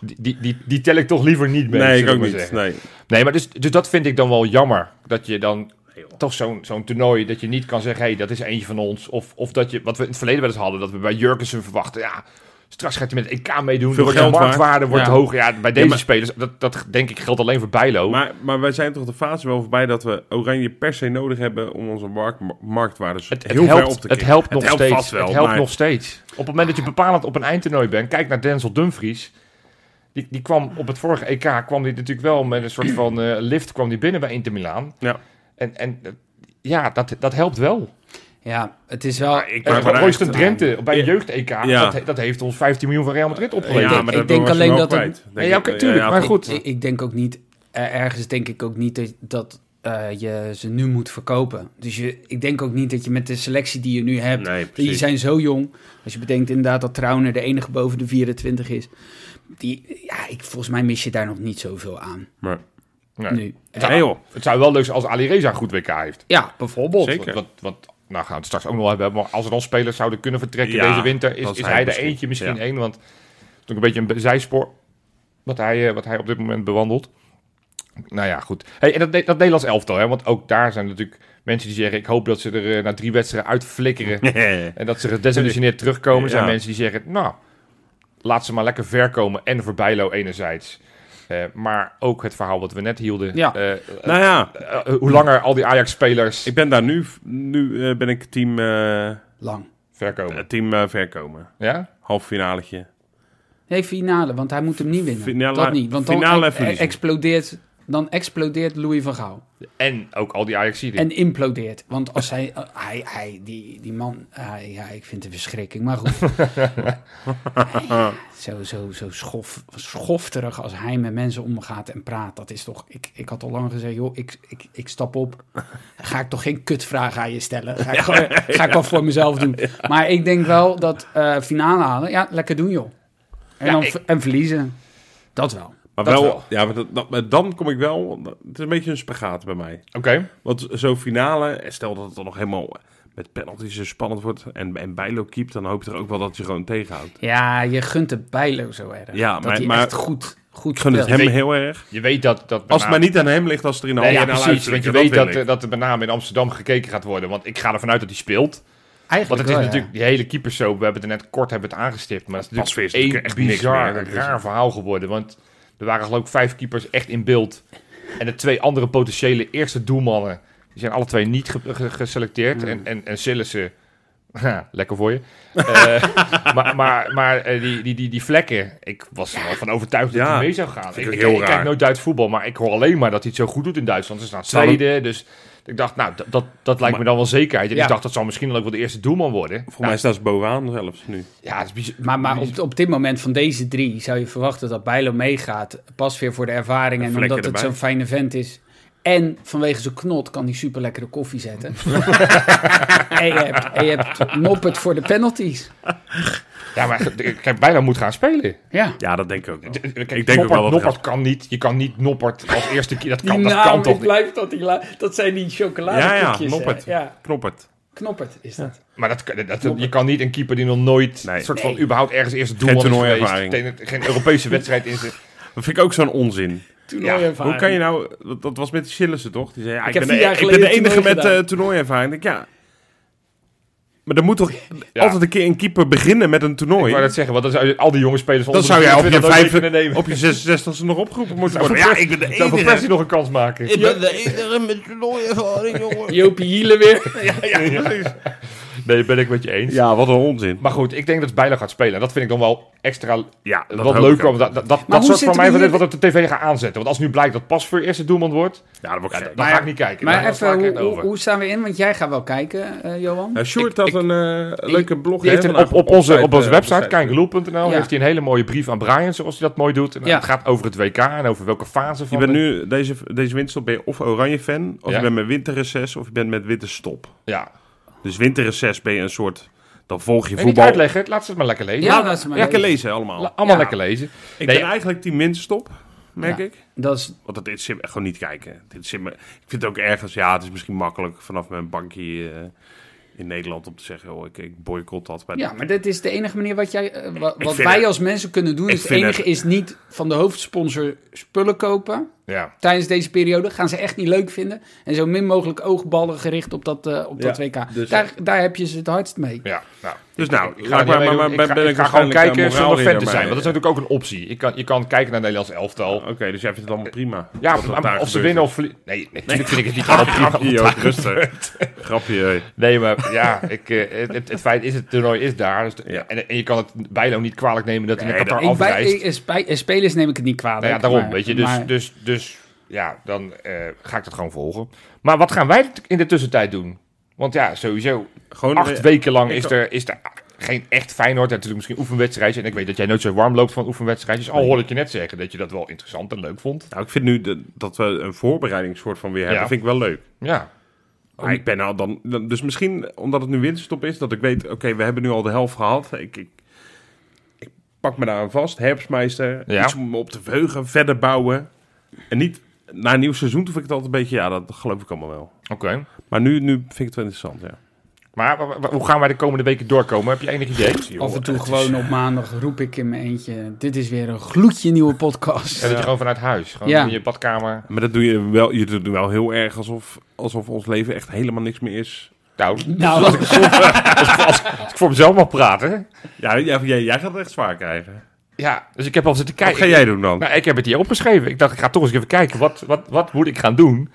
S2: die, die, die, die tel ik toch liever niet mee.
S1: nee,
S2: zullen
S1: ik
S2: we
S1: ook
S2: maar
S1: niet.
S2: zeggen.
S1: Nee.
S2: Nee, maar dus, dus dat vind ik dan wel jammer. Dat je dan toch zo'n zo'n toernooi, dat je niet kan zeggen, hé, hey, dat is eentje van ons. Of, of dat je, wat we in het verleden wel eens hadden, dat we bij Jurkensen verwachten, ja, straks gaat hij met het EK meedoen.
S1: Veel
S2: wordt de
S1: geld waard.
S2: marktwaarde wordt
S3: Ja.
S2: hoger. Ja, bij deze
S1: maar-
S2: spelers, dat, dat denk ik geldt alleen voor Bijlo.
S1: Maar, maar wij zijn toch de fase wel voorbij dat we Oranje per se nodig hebben om onze markt, marktwaarde
S2: het, het
S1: heel
S2: helpt,
S1: ver op te
S2: het
S1: krikken.
S2: helpt nog steeds.
S1: vast wel,
S2: het helpt
S1: maar- Ah.
S2: nog steeds. Op het moment dat je bepalend op een eindtoernooi bent, kijk naar Denzel Dumfries. Die, die kwam op het vorige EK kwam die natuurlijk wel met een soort van eh, lift kwam die binnen bij Inter Milaan.
S1: Ja.
S2: En, en eh, ja, dat, dat helpt wel.
S3: Ja, het is wel...
S1: ik
S2: En
S1: Maar
S2: Royston
S1: waar
S2: Royston
S1: echt-
S2: Drenthe bij de jeugd-EK,
S1: Ja.
S2: dat, dat heeft ons 15 miljoen van Real Madrid opgeleverd.
S1: Ja,
S3: Ik-
S1: maar
S3: ik
S1: dat
S3: denk
S1: was je
S3: alleen
S1: wel
S3: dat het-
S1: kwijt.
S2: Nee, ja, oké, tuurlijk, maar
S1: toch.
S2: goed.
S3: Ik, ik denk ook niet, eh, ergens denk ik ook niet dat, dat eh, je ze nu moet verkopen. Dus je, ik denk ook niet dat je met de selectie die je nu hebt,
S1: Nee,
S3: die
S1: precies.
S3: zijn zo jong. Als je bedenkt inderdaad dat Trauner de enige boven de 24 is. Die, ja, ik, volgens mij mis je daar nog niet zoveel aan
S1: Maar, *laughs*
S2: Nee.
S3: nu. Eh,
S1: nee joh.
S2: Het zou wel leuk zijn als Ali Reza een goed WK heeft.
S3: ja, bijvoorbeeld.
S1: Zeker.
S2: Want, want nou gaan we het straks ook nog wel hebben. Maar als er dan spelers zouden kunnen vertrekken
S1: Ja,
S2: deze winter, is,
S1: dat is
S2: is
S1: hij
S2: hij er
S1: misschien.
S2: eentje misschien
S1: Ja.
S2: één. Want het is ook een beetje een be- zijspoor wat hij, eh, wat hij op dit moment bewandelt. Nou ja, goed. Hey, en dat, Ne- dat Nederlands elftal, hè, want ook daar zijn natuurlijk mensen die zeggen... ik hoop dat ze er eh, na drie wedstrijden uitflikkeren. En dat ze gedesillusioneerd terugkomen. Er zijn
S1: Ja.
S2: mensen die zeggen, nou, laat ze maar lekker ver komen. En voor Bijlo enerzijds. Eh, maar ook het verhaal wat we net hielden.
S3: Ja.
S2: Eh, eh,
S1: nou ja,
S2: eh, hoe langer al die Ajax-spelers
S1: ik ben daar nu, nu eh, ben ik team, eh,
S3: Lang.
S2: ver komen.
S1: team eh, verkomen.
S2: Ja?
S1: Half finaletje.
S3: Nee, finale, want hij moet hem niet winnen.
S1: Finale-
S3: dat niet, want dan
S1: finale
S3: eh,
S1: verliezen.
S3: explodeert... Dan explodeert Louis van Gaal.
S2: En ook al die Ajaxiden.
S3: En implodeert. Want als hij, eh, hij, hij die, die man, hij, ja, ik vind het een verschrikking, maar
S1: *laughs*
S3: goed. Eh, zo zo, zo schof, schofterig als hij met mensen omgaat en praat. Dat is toch, ik, ik had al lang gezegd, joh, ik, ik, ik stap op. Ga ik toch geen kutvraag aan je stellen? Ga ik, gewoon- ga ik wel voor
S1: *laughs*
S3: mezelf doen. Maar ik denk wel dat eh, finale halen, ja, lekker doen joh. En,
S2: Ja,
S3: dan,
S2: ik-
S3: ver- en verliezen. Dat wel.
S1: Maar
S2: Dat
S1: wel,
S2: wel.
S1: ja, maar, dat, dat- maar dan kom ik wel, het is een beetje een spagaat bij mij.
S2: Oké.
S1: Want zo'n finale, en stel dat het dan nog helemaal eh, met penalties zo spannend wordt en, en Bijlo keept, dan hoop je er ook wel dat je gewoon tegenhoudt.
S3: Ja, je gunt de Bijlo zo erg.
S1: Ja,
S3: dat
S1: maar-
S3: hij
S1: maar-
S3: echt goed, goed
S1: Ik gun het
S3: speelt.
S1: hem
S2: Weet-
S1: heel erg.
S2: Je weet dat... dat
S1: Als het maar niet aan hem ligt, als het er in de
S2: Nee,
S1: handen
S2: ja,
S1: naar
S2: precies. Want je
S1: uitdrukken,
S2: weet
S1: wil
S2: dat,
S1: ik.
S2: eh, dat er met name in Amsterdam gekeken gaat worden. Want ik ga ervan uit dat hij speelt. Want
S3: Eigenlijk
S2: het is
S3: wel, ja.
S2: natuurlijk die hele keepersoap, we hebben het er net kort hebben we het aangestipt, maar het is
S1: Pasveer is
S2: natuurlijk één
S1: natuurlijk echt niks
S2: bizar,
S1: meer. dus- Dat is-
S2: raar verhaal geworden. Want er waren geloof ik vijf keepers echt in beeld. En de twee andere potentiële eerste doelmannen, die zijn alle twee niet ge- ge- geselecteerd.
S1: Hmm.
S2: En, en, en Sillissen, *laughs* ha, lekker voor je. Eh, *laughs* maar maar, maar eh, die, die, die, die vlekken, ik was er wel van overtuigd dat
S1: Ja.
S2: hij mee zou gaan. Ik,
S1: ik ook
S2: ik-
S1: heel
S2: ik kijk
S1: raar.
S2: nooit Duits voetbal, maar ik hoor alleen maar dat hij het zo goed doet in Duitsland. Ze staan
S1: Zou dat-
S2: tweede, dus... Ik dacht, nou, dat, dat, dat lijkt me dan wel zekerheid. En
S3: Ja.
S2: ik dacht, dat zal misschien ook wel de eerste doelman worden.
S1: Volgens mij staat ze bovenaan zelfs nu.
S2: Ja, het is bizar.
S3: Maar, maar op, op dit moment van deze drie zou je verwachten dat Bijlo meegaat. Pas weer voor de ervaring
S1: En
S3: en
S1: Vlekken
S3: omdat
S1: erbij.
S3: het zo'n fijne vent is. En vanwege zijn knot kan hij super lekkere koffie
S2: *laughs*
S3: zetten. en, je hebt, en je hebt Noppert voor de penalties.
S2: Ja, maar kijk, bijna moet gaan spelen.
S3: Ja.
S1: Ja, dat denk ik ook wel.
S2: Kijk,
S1: Ik denk ook
S2: Noppert,
S1: wel dat het
S2: Noppert kan niet. Je kan niet Noppert als eerste keer. Dat
S3: Die
S2: kan, dat
S3: naam,
S2: kan toch
S3: Nou, ik
S2: niet.
S3: blijf dat, die la- dat zijn die
S1: Ja, ja,
S3: chocoladekoekjes. hè?
S1: Noppert.
S3: Ja,
S1: Knoppert.
S3: Knoppert is dat.
S2: Maar dat, kan- dat, dat- je kan niet een keeper die nog nooit...
S1: Nee.
S2: soort
S3: Nee.
S2: van überhaupt ergens eerste doelman is
S1: toernooiervaring.
S2: geweest. Geen, geen Europese wedstrijd in zijn...
S1: Dat vind ik ook zo'n onzin.
S3: Toernooiervaring.
S1: Hoe kan je nou... Dat, dat was met die Sillissen, toch? Die zei, ja, ik,
S3: heb
S1: ben,
S3: vier
S1: de,
S3: jaar
S1: ik ben
S3: geleden
S1: de enige
S3: toernooi
S1: met
S3: gedaan.
S1: eh toernooiervaring. Ik denk, ja... Maar er moet toch
S2: Ja.
S1: altijd een keer een keeper beginnen met een
S2: Ik
S1: toernooi?
S2: wou dat zeggen, want dat zou je- al die jonge spelers van
S1: Dan
S2: onder
S1: zou
S2: de
S1: jij op je,
S2: 24 nooit
S1: vijf,
S2: kunnen nemen.
S1: op je 66 ze nog opgeroepen moeten
S2: *laughs* Zou
S1: worden.
S2: Van
S1: Ja,
S2: Persie-
S1: ik ben de
S2: *laughs* Zou Van Persie
S1: enige.
S2: nog een kans maken?
S4: Ik ben de enige met toernooiervaring, jongen.
S3: Jopie Hielen weer.
S2: Nee, ben ik met je eens.
S1: Ja, wat een onzin.
S2: Maar goed, ik denk dat Bijlo gaat spelen. En dat vind ik dan wel extra
S1: Ja,
S2: Dat wat leuker, want dat, dat, dat
S3: hoe
S2: soort
S3: zitten
S2: van
S3: we
S2: mij van
S3: hier-
S2: dit wat op de tv gaan aanzetten. Want als nu blijkt dat pas voor eerste doelman wordt,
S1: Ja, dat wordt
S2: ja,
S1: gek.
S2: dan ga *laughs* ik niet kijken.
S3: Maar
S2: Dan sla ik
S3: even,
S2: echt
S3: hoe, hoe,
S2: over.
S3: hoe staan we in? Want jij gaat wel kijken, eh, Johan.
S1: Nou, Sjoerd had
S2: ik-
S1: een eh, leuke blog.
S2: Die heeft
S1: hè,
S2: een, op,
S1: vandaag
S2: op, onze,
S1: site,
S2: op onze
S1: eh,
S2: website,
S1: site.
S2: kijkloel.nl,
S3: Ja.
S2: heeft hij een hele mooie brief aan Brian, zoals hij dat mooi doet. En
S3: Ja.
S2: Het gaat over het WK en over welke fase
S1: Je
S2: van...
S1: bent
S2: de-
S1: nu, deze, deze winterstop ben je of oranje fan, of
S2: Ja.
S1: je bent met winterreces, of je bent met winterstop.
S2: Ja.
S1: Dus winterreces ben je een soort, dan volg je
S2: En niet
S1: voetbal.
S2: uitleggen, laat ze het maar lekker lezen.
S3: Ja, laat ze maar
S1: Lekker
S3: lezen.
S1: lezen allemaal.
S2: La- allemaal
S3: Ja.
S2: lekker lezen.
S1: ik
S2: Nee,
S1: ben eigenlijk team winterstop, merk
S3: Ja.
S1: ik.
S3: Dat is
S1: Want dat dit zit me- gewoon niet kijken. Dit zit me, ik vind het ook ergens, ja, het is misschien makkelijk vanaf mijn bankje eh, in Nederland om te zeggen, oh, ik, ik boycott dat. Maar
S3: Ja, maar dit is de enige manier wat, jij, eh, wa- wat
S1: vind
S3: wij
S1: het-
S3: als mensen kunnen doen.
S1: ik
S3: Is het
S1: vind
S3: enige
S1: het-
S3: is niet van de hoofdsponsor spullen kopen
S2: Ja.
S3: tijdens deze periode. Gaan ze echt niet leuk vinden. En zo min mogelijk oogballen gericht op dat, eh, op
S1: Ja,
S3: dat WK.
S1: dus-
S3: daar, daar heb je ze het hardst mee.
S2: Ja, nou.
S1: Dus nou,
S2: Ik ga, er niet
S1: maar-
S2: mee
S1: maar-
S2: doen.
S1: maar-
S2: ik
S1: ben
S2: ga,
S1: ben
S2: ik
S1: ik
S2: ga gewoon
S1: waarschijnlijk, eh,
S2: kijken zonder fan
S1: moraalridder,
S2: te zijn.
S1: maar,
S2: Want dat is natuurlijk ook een optie. Je kan, je kan kijken naar Nederlands elftal.
S1: Oké, dus jij vindt het allemaal prima.
S2: Ja,
S1: Wat er
S2: maar
S1: daar
S2: of ze
S1: gebeurt.
S2: winnen of verliezen. Nee, natuurlijk vind ik het niet
S1: *laughs*
S2: allemaal prima. wat
S1: Grapje,
S2: daar
S1: joh,
S2: *laughs*
S1: rustig. Grapje, joh.
S2: Nee, maar ja, ik, eh, het, het feit is, het toernooi is daar. Dus de-
S1: Ja.
S2: en, en je kan het Bijlo niet kwalijk nemen dat hij
S1: Nee,
S2: naar Qatar
S3: Ik bij,
S2: afreist.
S3: eh, spij- eh, spelers neem ik het niet kwalijk.
S2: nou ja, daarom,
S3: maar-
S2: weet je. Dus,
S3: maar-
S2: dus, dus ja, dan eh, ga ik dat gewoon volgen. Maar wat gaan wij in de tussentijd doen? Want ja, sowieso,
S1: Gewoon
S2: acht
S1: eh,
S2: weken lang
S1: ik
S2: is
S1: kan-
S2: er, is er geen echt Feyenoord. En natuurlijk misschien oefenwedstrijdjes. En ik weet dat jij nooit zo warm loopt van oefenwedstrijdjes. Al hoorde ik je net zeggen dat je dat wel interessant en leuk vond.
S1: Nou, ik vind nu de- dat we een voorbereidingssoort van weer hebben,
S2: Ja.
S1: vind ik wel leuk.
S2: Ja,
S1: Maar ik ben nou dan, dan- dus misschien omdat het nu winterstop is, dat ik weet, oké, we hebben nu al de helft gehad. Ik, ik, ik pak me daar aan vast, herfstmeister,
S2: Ja.
S1: iets om me op te verheugen, verder bouwen. En niet, na een nieuw seizoen toen vind ik het altijd een beetje, ja, dat geloof ik allemaal wel.
S2: oké.
S1: Maar nu, nu vind ik het wel interessant, ja.
S2: Maar wa- wa- hoe gaan wij de komende weken doorkomen? Heb je enig idee?
S3: af en toe gewoon op maandag roep ik in mijn eentje. Dit is weer een gloedje nieuwe podcast.
S2: Ja, dat je gewoon vanuit huis, gewoon
S3: Ja.
S2: in je badkamer.
S1: Maar dat doe je wel, je doet wel heel erg alsof, alsof ons leven echt helemaal niks meer is.
S2: Nou,
S3: *laughs* Nou,
S2: Als ik voor mezelf mag praten.
S1: Ja, jij, jij, jij gaat het echt zwaar krijgen.
S2: Ja, dus ik heb al zitten kijken.
S1: Wat ga jij doen dan?
S2: Nou, ik heb het hier opgeschreven. Ik dacht, ik ga toch eens even kijken. Wat, wat, wat moet ik gaan doen?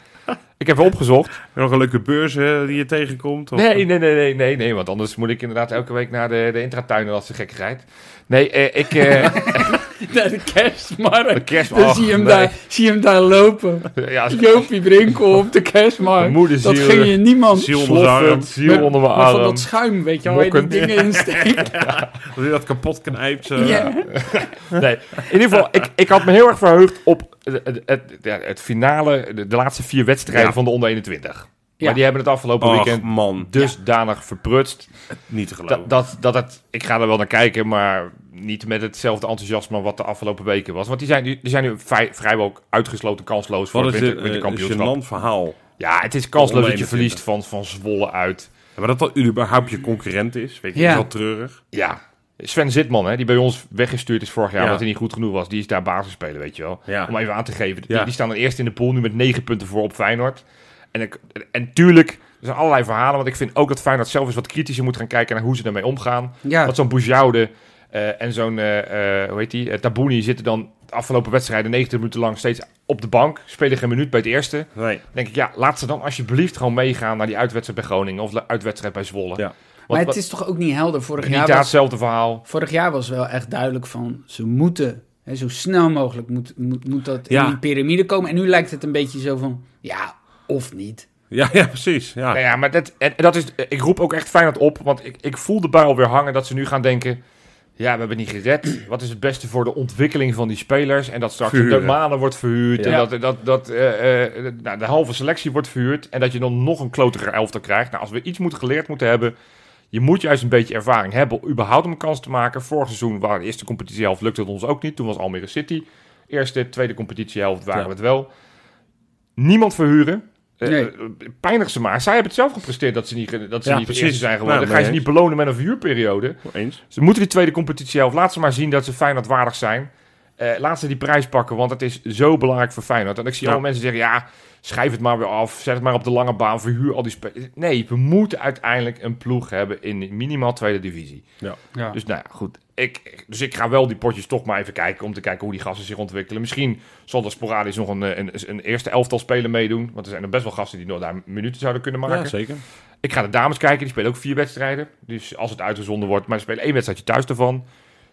S2: Ik heb
S3: *laughs*
S2: opgezocht.
S1: Nog een leuke beurs eh, die je tegenkomt? Of?
S2: Nee, nee, nee, nee, nee, nee. Want anders moet ik inderdaad elke week naar de, de intratuinen als de gekkigheid. Nee, eh, ik...
S3: *laughs*
S2: eh,
S3: *laughs* naar de kerstmarkt.
S2: de kerst...
S3: Dan
S2: och,
S3: zie, je hem
S2: nee.
S3: daar, zie je hem daar lopen.
S2: Ja, als-
S3: Jopie Brinkel op de kerstmarkt.
S2: Mijn moeder
S3: dat
S2: ziel.
S3: ging je niemand.
S1: Ziel onder zijn arm.
S2: sloffend, ziel onder mijn
S3: maar van
S2: arm.
S3: dat schuim, weet je wel, waar je die
S2: Mokkend.
S3: dingen in steekt.
S1: Dat je dat kapot knijpt. eh? zo.
S3: Ja.
S2: Nee, in ieder
S3: *laughs*
S2: geval, ik, ik had me heel erg verheugd op het, het, het, ja, het finale, de, de laatste vier wedstrijden
S1: Ja.
S2: van de onder 21.
S3: Ja.
S2: Maar die hebben het afgelopen
S1: Och,
S2: weekend
S1: man.
S2: dusdanig verprutst.
S1: Niet te geloven.
S2: dat, dat, dat het, ik ga er wel naar kijken, maar niet met hetzelfde enthousiasme wat de afgelopen weken was. Want die zijn, nu- die zijn nu vrij, vrijwel uitgesloten kansloos voor
S1: Wat
S2: het
S1: is
S2: winter,
S1: een
S2: winterkampioenschap.
S1: land eh, verhaal.
S2: ja, het is kansloos dat
S1: 121.
S2: je verliest van, van Zwolle uit.
S1: Ja, maar dat dat überhaupt je concurrent is, weet je,
S3: Ja.
S1: is wel treurig.
S2: Ja, Sven Zitman, hè, die bij ons weggestuurd is vorig jaar
S1: Ja.
S2: omdat hij niet goed genoeg was. Die is daar basisspeler, weet je wel.
S1: Ja.
S2: Om even aan te geven. Die,
S1: Ja.
S2: die staan dan eerst in de pool, nu met negen punten voor op Feyenoord. En, ik- en tuurlijk, zijn allerlei verhalen, want ik vind ook dat Feyenoord zelf eens wat kritischer moet gaan kijken naar hoe ze daarmee omgaan.
S3: Ja,
S2: Want zo'n Boujoude eh, en zo'n, eh, eh, hoe heet die, eh, Tabouni zitten dan de afgelopen wedstrijden 90 minuten lang steeds op de bank. Spelen geen minuut bij het eerste. Dan
S1: Nee.
S2: denk ik, ja, laat ze dan alsjeblieft gewoon meegaan naar die uitwedstrijd bij Groningen of de uitwedstrijd bij Zwolle.
S1: Ja.
S2: Want,
S3: maar het is toch ook niet helder. Vorig
S2: niet
S3: jaar,
S2: daar
S3: was,
S2: hetzelfde verhaal.
S3: vorig jaar was wel echt duidelijk van ze moeten, hè, zo snel mogelijk moet, moet, moet dat
S1: Ja.
S3: in die piramide komen. En nu lijkt het een beetje zo van ja, of niet.
S1: Ja, ja, precies. Ja.
S2: Nou ja, maar dat, en, en dat is, ik roep ook echt Feyenoord op, want ik, ik voel de bui weer hangen dat ze nu gaan denken... Ja, we hebben niet gered. *clears throat* Wat is het beste voor de ontwikkeling van die spelers? En dat straks
S1: Verhuren.
S2: de manen wordt verhuurd.
S3: Ja.
S2: En dat, dat, dat eh, eh, nou, de halve selectie wordt verhuurd. En dat je dan nog een klotiger elftal krijgt. Nou, als we iets moeten geleerd moeten hebben... Je moet juist een beetje ervaring hebben überhaupt om een kans te maken. Vorig seizoen waren de eerste competitiehelft lukte het ons ook niet. Toen was Almere City. Eerste, tweede competitiehelft waren
S1: Ja.
S2: we het wel. Niemand verhuren. Eh,
S3: Nee.
S2: eh, Pijnig ze maar. Zij hebben het zelf gepresteerd dat ze niet, ge- dat ze
S1: Ja,
S2: niet
S1: precies.
S2: de
S1: Nou,
S2: eerste zijn geworden.
S1: Ja,
S2: Dan ga je ze
S1: mee
S2: niet belonen met een verhuurperiode.
S1: Eens.
S2: Ze moeten die tweede competitiehelft. Laat ze maar zien dat ze Feyenoord waardig zijn. Eh, laat ze die prijs pakken, want het is zo belangrijk voor Feyenoord. En ik zie
S1: Ja.
S2: al mensen zeggen, ja, schrijf het maar weer af. Zet het maar op de lange baan, verhuur al die spelers. Nee, we moeten uiteindelijk een ploeg hebben in minimaal tweede divisie.
S3: Ja.
S2: Dus nou ja, goed. Ik, dus ik ga wel die potjes toch maar even kijken om te kijken hoe die gasten zich ontwikkelen. Misschien zal er sporadisch nog een, eh, een, een eerste elftal spelen meedoen. Want er zijn er best wel gasten die nog daar minuten zouden kunnen maken.
S1: Ja, zeker.
S2: Ik ga de dames kijken, die spelen ook vier wedstrijden. Dus als het uitgezonden wordt, maar ze spelen één wedstrijdje thuis ervan.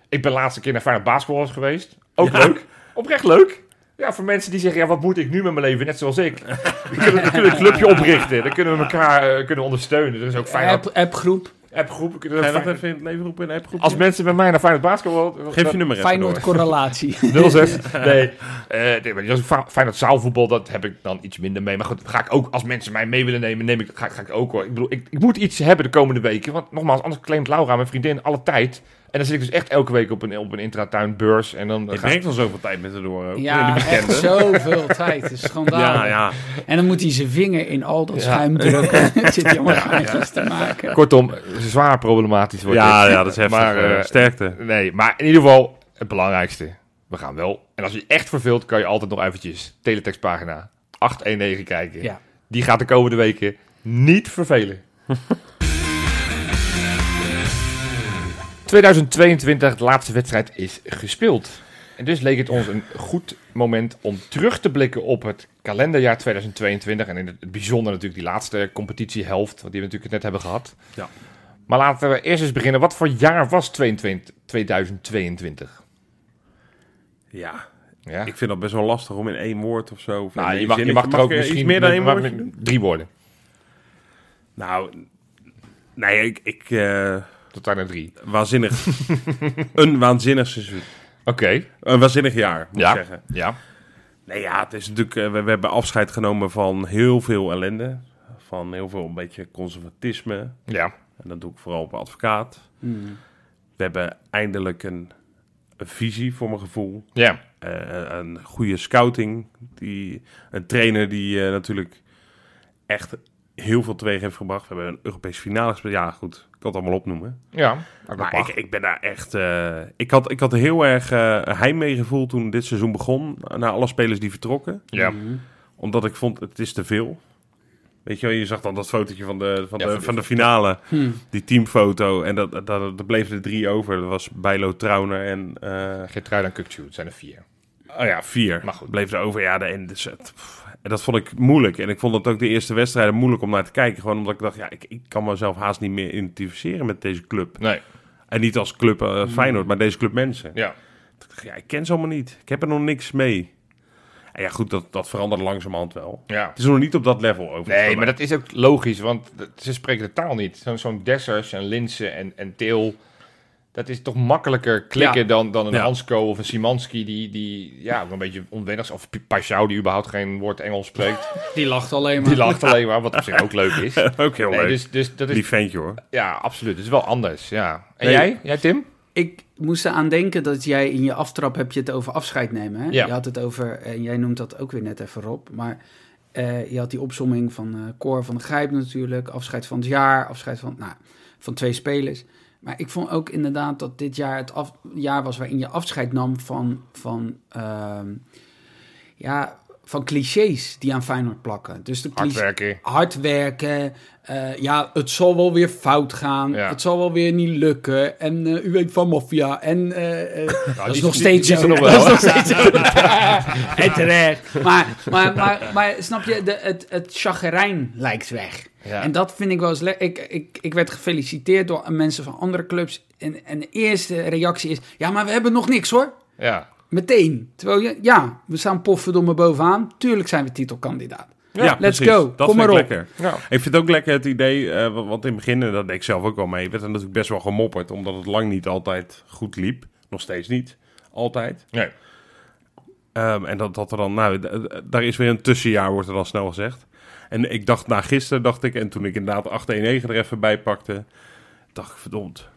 S2: Ik ben laatste keer naar Feyenoord Basketball was geweest. Ook leuk. Oprecht leuk. Ja, voor mensen die zeggen, ja, wat moet ik nu met mijn leven? Net zoals ik. Dan kunnen we dan kunnen we een clubje oprichten. Dan kunnen we elkaar eh, kunnen ondersteunen. Er is ook Feyenoord
S3: App, appgroep,
S2: appgroep. We kunnen
S1: Ga je dat
S2: Feyenoord-
S1: even in het leven roepen in een appgroep?
S2: Als mensen bij mij naar Feyenoord Basketball...
S1: Geef je nummer even
S3: Feyenoord
S1: door.
S3: correlatie.
S2: *laughs* 06. Nee. Eh nee, maar dat is fa- Feyenoord zaalvoetbal, dat heb ik dan iets minder mee. Maar goed, ga ik ook, als mensen mij mee willen nemen, neem ik, ga, ga ik ook hoor. Ik bedoel, ik, ik moet iets hebben de komende weken. Want nogmaals, anders claimt Laura, mijn vriendin, alle tijd. En dan zit ik dus echt elke week op een, op een intratuinbeurs. En dan eh,
S1: Je
S2: ga ik-
S1: brengt al zoveel tijd met ze door. Ook.
S3: Ja, echt zoveel tijd. Het is schandaal.
S1: Ja, ja.
S3: En dan moet hij zijn vinger in al dat schuim drukken. *laughs* Het zit hij allemaal gaatjes te maken.
S2: Kortom, zwaar problematisch wordt
S1: Ja,
S2: dit.
S1: ja, dat is heftig.
S2: Maar, eh,
S1: eh, sterkte.
S2: *laughs* Nee, maar in ieder geval, het belangrijkste. We gaan wel. En als je echt verveelt, kan je altijd nog eventjes teletextpagina 819 kijken.
S3: Ja.
S2: Die gaat de komende weken niet *laughs* vervelen. 2022, de laatste wedstrijd is gespeeld. En dus leek het ons een goed moment om terug te blikken op het kalenderjaar 2022. En in het bijzonder natuurlijk die laatste competitiehelft, want die we natuurlijk net hebben gehad.
S1: Ja.
S2: Maar laten we eerst eens beginnen. Wat voor jaar was 22 2022?
S1: Ja,
S2: Ja?
S1: ik vind dat best wel lastig om in één woord of zo. of in
S2: nou, je
S1: één
S2: mag, je
S1: zinnetje.
S2: mag er ook
S1: ik, eh, iets
S2: misschien
S1: meer dan
S2: met-
S1: één
S2: maar
S1: woordje
S2: met
S1: doen?
S2: drie woorden.
S1: Nou, nee, ik, ik eh,
S2: Tot aan de drie.
S1: *laughs* waanzinnig. een waanzinnig seizoen.
S2: Oké.
S1: Een waanzinnig jaar, moet
S2: Ja.
S1: ik zeggen.
S2: Ja.
S1: Nee, ja, het is natuurlijk. eh, we, we hebben afscheid genomen van heel veel ellende. Van heel veel een beetje conservatisme.
S2: Ja.
S1: En dat doe ik vooral op advocaat. We hebben eindelijk een, een visie voor mijn gevoel.
S2: Ja.
S1: Eh, een goede scouting. Die, een trainer die eh, natuurlijk echt heel veel teweeg heeft gebracht. We hebben een Europese finale gespeeld. Ja, goed. Ik kan het allemaal opnoemen.
S2: Ja.
S1: Maar ik, ik ben daar echt. eh, ik, had, ik had heel erg eh heimwee gevoeld toen dit seizoen begon. Na alle spelers die vertrokken.
S2: ja.
S1: Omdat ik vond het is te veel. Weet je wel, je zag dan dat fotootje van de, van
S2: Ja,
S1: de,
S2: van de-
S1: van de finale.
S3: Hm.
S1: Die teamfoto. En dat, dat, dat, er bleven er drie over. Dat was Bijlo Trauner en. eh,
S2: Geertruida en Kukcu, het zijn er vier.
S1: oh ja, vier.
S2: Maar goed.
S1: Bleef er over. Ja, de, en, dus het- pff. en dat vond ik moeilijk. En ik vond het ook de eerste wedstrijden moeilijk om naar te kijken. Gewoon omdat ik dacht, ja, ik, ik kan mezelf haast niet meer identificeren met deze club.
S2: Nee.
S1: En niet als club eh, Feyenoord, maar deze club mensen.
S2: Ja.
S1: Ik dacht, Ja, ik ken ze allemaal niet. Ik heb er nog niks mee. En ja, goed, dat, dat verandert langzamerhand wel.
S2: Ja.
S1: Het is nog niet op dat level over.
S2: Nee, maar dat is ook logisch, want dat- ze spreken de taal niet. Zo'n zo'n Dessers en Linsen en, en Til, dat is toch makkelijker klikken
S3: Ja.
S2: dan, dan een
S1: Ja.
S2: Hansco of een Simanski die, die ja, ook een beetje onwennig is. Of P- Pashao die überhaupt geen woord Engels spreekt.
S3: Die lacht alleen maar.
S2: *laughs* Die lacht alleen maar, wat op zich ook leuk is.
S1: Ook heel
S2: *laughs* Nee,
S1: leuk.
S2: dus, dus dat
S1: Die
S2: is,
S1: ventje hoor.
S2: ja, absoluut. Het is wel anders, ja. En
S1: Nee.
S2: jij? Jij, Tim?
S3: Ik moest eraan denken dat jij in je aftrap heb je het over afscheid nemen. Hè?
S2: Ja.
S3: Je had het over, en jij noemt dat ook weer net even Rob, maar eh, je had die opsomming van eh Cor van de Grijp natuurlijk, afscheid van het jaar, afscheid van, nou, van twee spelers. Maar ik vond ook inderdaad dat dit jaar het af, jaar was waarin je afscheid nam van, van ehm, ja, van clichés die aan Feyenoord plakken. Dus de
S2: Hard
S3: clichés
S2: werken.
S3: hard werken. eh, ja, het zal wel weer fout gaan.
S2: Ja.
S3: Het zal wel weer niet lukken. En eh, u weet van maffia. En eh, eh, dat is
S2: die-
S3: nog
S2: die-
S3: steeds
S2: die is
S3: zo.
S2: er nog wel,
S3: *laughs* dat is
S2: hè?
S3: nog steeds zo. *laughs* en terecht. Maar, maar, maar, maar snap je, de, het, het chagrijn lijkt weg.
S2: Ja.
S3: En dat vind ik wel eens lekker. Ik, ik, ik werd gefeliciteerd door mensen van andere clubs. En, en de eerste reactie is, ja, maar we hebben nog niks hoor.
S2: Ja.
S3: Meteen. Terwijl, je, ja, we staan poffendomme bovenaan. Tuurlijk zijn we titelkandidaat.
S1: Ja,
S3: let's
S1: precies.
S3: go.
S1: Dat vind
S3: Kom maar
S1: ik
S3: op.
S1: lekker.
S2: Ja.
S1: Ik vind het ook lekker het idee, eh, wa- want in het begin, en dat deed ik zelf ook al mee, werd er natuurlijk best wel gemopperd, omdat het lang niet altijd goed liep. Nog steeds niet. Altijd.
S2: Nee.
S1: Ehm, en dat, dat er dan, nou, d- d- daar is weer een tussenjaar, wordt er dan snel gezegd. En ik dacht, na gisteren dacht ik, en toen ik inderdaad 8-1-9 er even bij pakte, dacht ik, verdomd,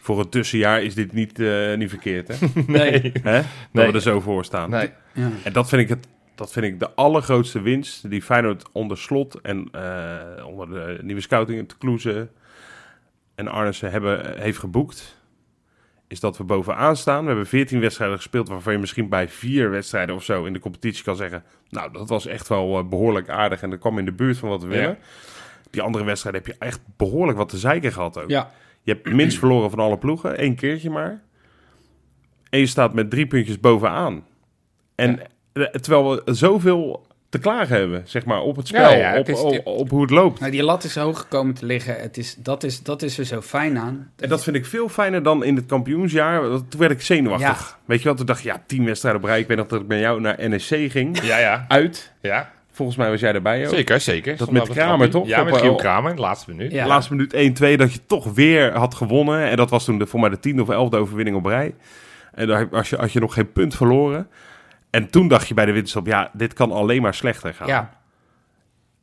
S1: voor een tussenjaar is dit niet, eh, niet
S2: *laughs*
S1: verkeerd, hè?
S3: Nee.
S1: Hè? Dat
S2: Nee.
S1: we er zo voor staan.
S2: Nee.
S3: Ja.
S1: En dat vind ik, het, dat vind ik de allergrootste winst die Feyenoord onder slot en eh, onder de nieuwe scouting te Kloeze en Arnissen hebben, eh, heeft geboekt. Is dat we bovenaan staan. We hebben 14 wedstrijden gespeeld, waarvan je misschien bij vier wedstrijden of zo in de competitie kan zeggen. Nou, dat was echt wel eh, behoorlijk aardig en dat kwam in de buurt van wat we
S2: Ja.
S1: willen. Die andere wedstrijden heb je echt behoorlijk wat te zeiken gehad ook.
S3: Ja.
S1: Je hebt
S2: *clears throat*
S1: minst verloren van alle ploegen, één keertje maar. En je staat met drie puntjes bovenaan. En eh, terwijl we zoveel te klagen hebben, zeg maar, op het spel,
S2: Ja, ja, het
S1: op,
S2: is-
S1: op, op hoe het loopt.
S3: Nou, die lat is hoog gekomen te liggen. Het is, dat, is, dat is er zo fijn aan.
S1: En dat vind ik veel fijner dan in het kampioensjaar. want Toen werd ik zenuwachtig. Weet je wat? Toen dacht ik, ja, tien wedstrijden op rij. Ik weet nog dat ik met jou naar NEC ging.
S2: Ja, ja.
S1: Uit.
S2: Ja.
S1: Volgens mij was jij erbij ook.
S2: Zeker, zeker. Stond
S1: met
S2: op het
S1: Kramer,
S2: trappie.
S1: toch?
S2: Ja,
S1: Op,
S2: met Giel
S1: eh,
S2: Kramer, de laatste minuut.
S3: Ja.
S1: Laatste minuut 1-2, dat je toch weer had gewonnen. En dat was toen de, voor mij de tiende of elfde overwinning op rij. En daar had je, had je nog geen punt verloren. En toen dacht je bij de winterstop, ja, dit kan alleen maar slechter gaan.
S3: Ja.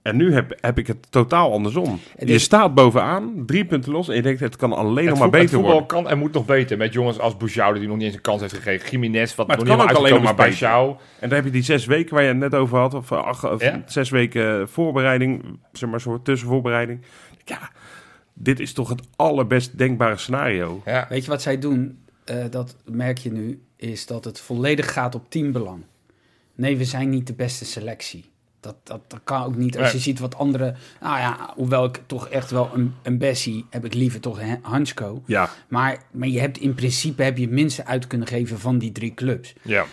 S1: En nu heb, heb ik het totaal andersom.
S3: En
S1: je
S3: dit-
S1: staat bovenaan, drie punten los. En je denkt, het kan alleen nog
S2: dus- Het
S1: maar
S2: voet- het
S1: beter
S2: voetbal
S1: worden.
S2: kan en moet nog beter. Met jongens als Bouchard, die nog niet eens een kans heeft gegeven. Jiménez, wat
S1: Maar
S2: nog
S1: het
S2: niet
S1: kan
S2: helemaal
S1: ook alleen
S2: uitgekomen
S1: nog maar
S2: is Paixão.
S1: En dan heb je die zes weken waar je het net over had. Of, acht, of
S2: Ja.
S1: zes weken voorbereiding. Zeg maar, soort tussenvoorbereiding. Ja, dit is toch het allerbest denkbare scenario.
S2: Ja.
S3: Weet je wat zij doen? Eh, dat merk je nu. Is dat het volledig gaat op teambelang. Nee, we zijn niet de beste selectie. Dat, dat, dat kan ook niet. Als je
S2: Nee.
S3: ziet wat andere... Nou ja, hoewel ik toch echt wel een, een Bessie... heb ik liever toch een Hansko.
S1: Ja,
S3: Maar, maar je hebt in principe heb je het minste uit kunnen geven van die drie clubs.
S2: Ja.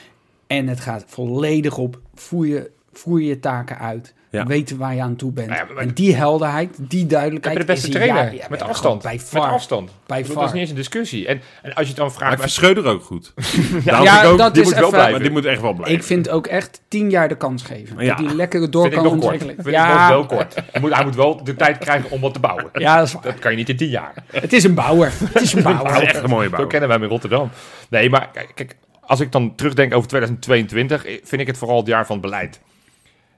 S3: En het gaat volledig op. Voer je, voer je taken uit.
S1: Ja.
S3: Weten waar je aan toe bent.
S2: Nou ja, maar-
S3: en die helderheid, die
S2: Heb
S3: duidelijkheid.
S2: je de beste
S3: is hier-
S2: trainer?
S3: ja, ja,
S2: met
S3: ja,
S2: afstand.
S3: Bij
S2: Met
S3: far.
S2: afstand.
S3: Bij
S2: Ik bedoel,
S3: VAR.
S2: Dat is niet eens een discussie. En, en als je het dan
S1: maar
S2: vraagt...
S1: ik vind Schreuder ook goed.
S2: ja,
S3: Ja,
S2: vind ik ook,
S3: dat
S2: die
S3: is
S2: moet wel
S3: even-
S1: Maar
S2: blijven.
S1: die moet echt wel blijven.
S3: Ik vind ook echt tien jaar de kans geven.
S1: Ja.
S3: Dat die lekker door
S2: vind ik
S3: kan
S2: nog kort.
S3: ontwikkelen.
S2: Vind ik nog
S3: ja,
S2: wel kort. Hij moet, hij moet wel de tijd krijgen om wat te bouwen.
S3: ja, dat is waar.
S2: Dat kan je niet in tien jaar.
S3: Het is een bouwer.
S2: *laughs*
S3: Het is een
S1: Dat is
S3: bouwer.
S1: echt een mooie bouw.
S2: Zo kennen wij hem in Rotterdam. Nee, maar kijk, kijk, als ik dan terugdenk over 2022, eh, vind ik het vooral het jaar van beleid.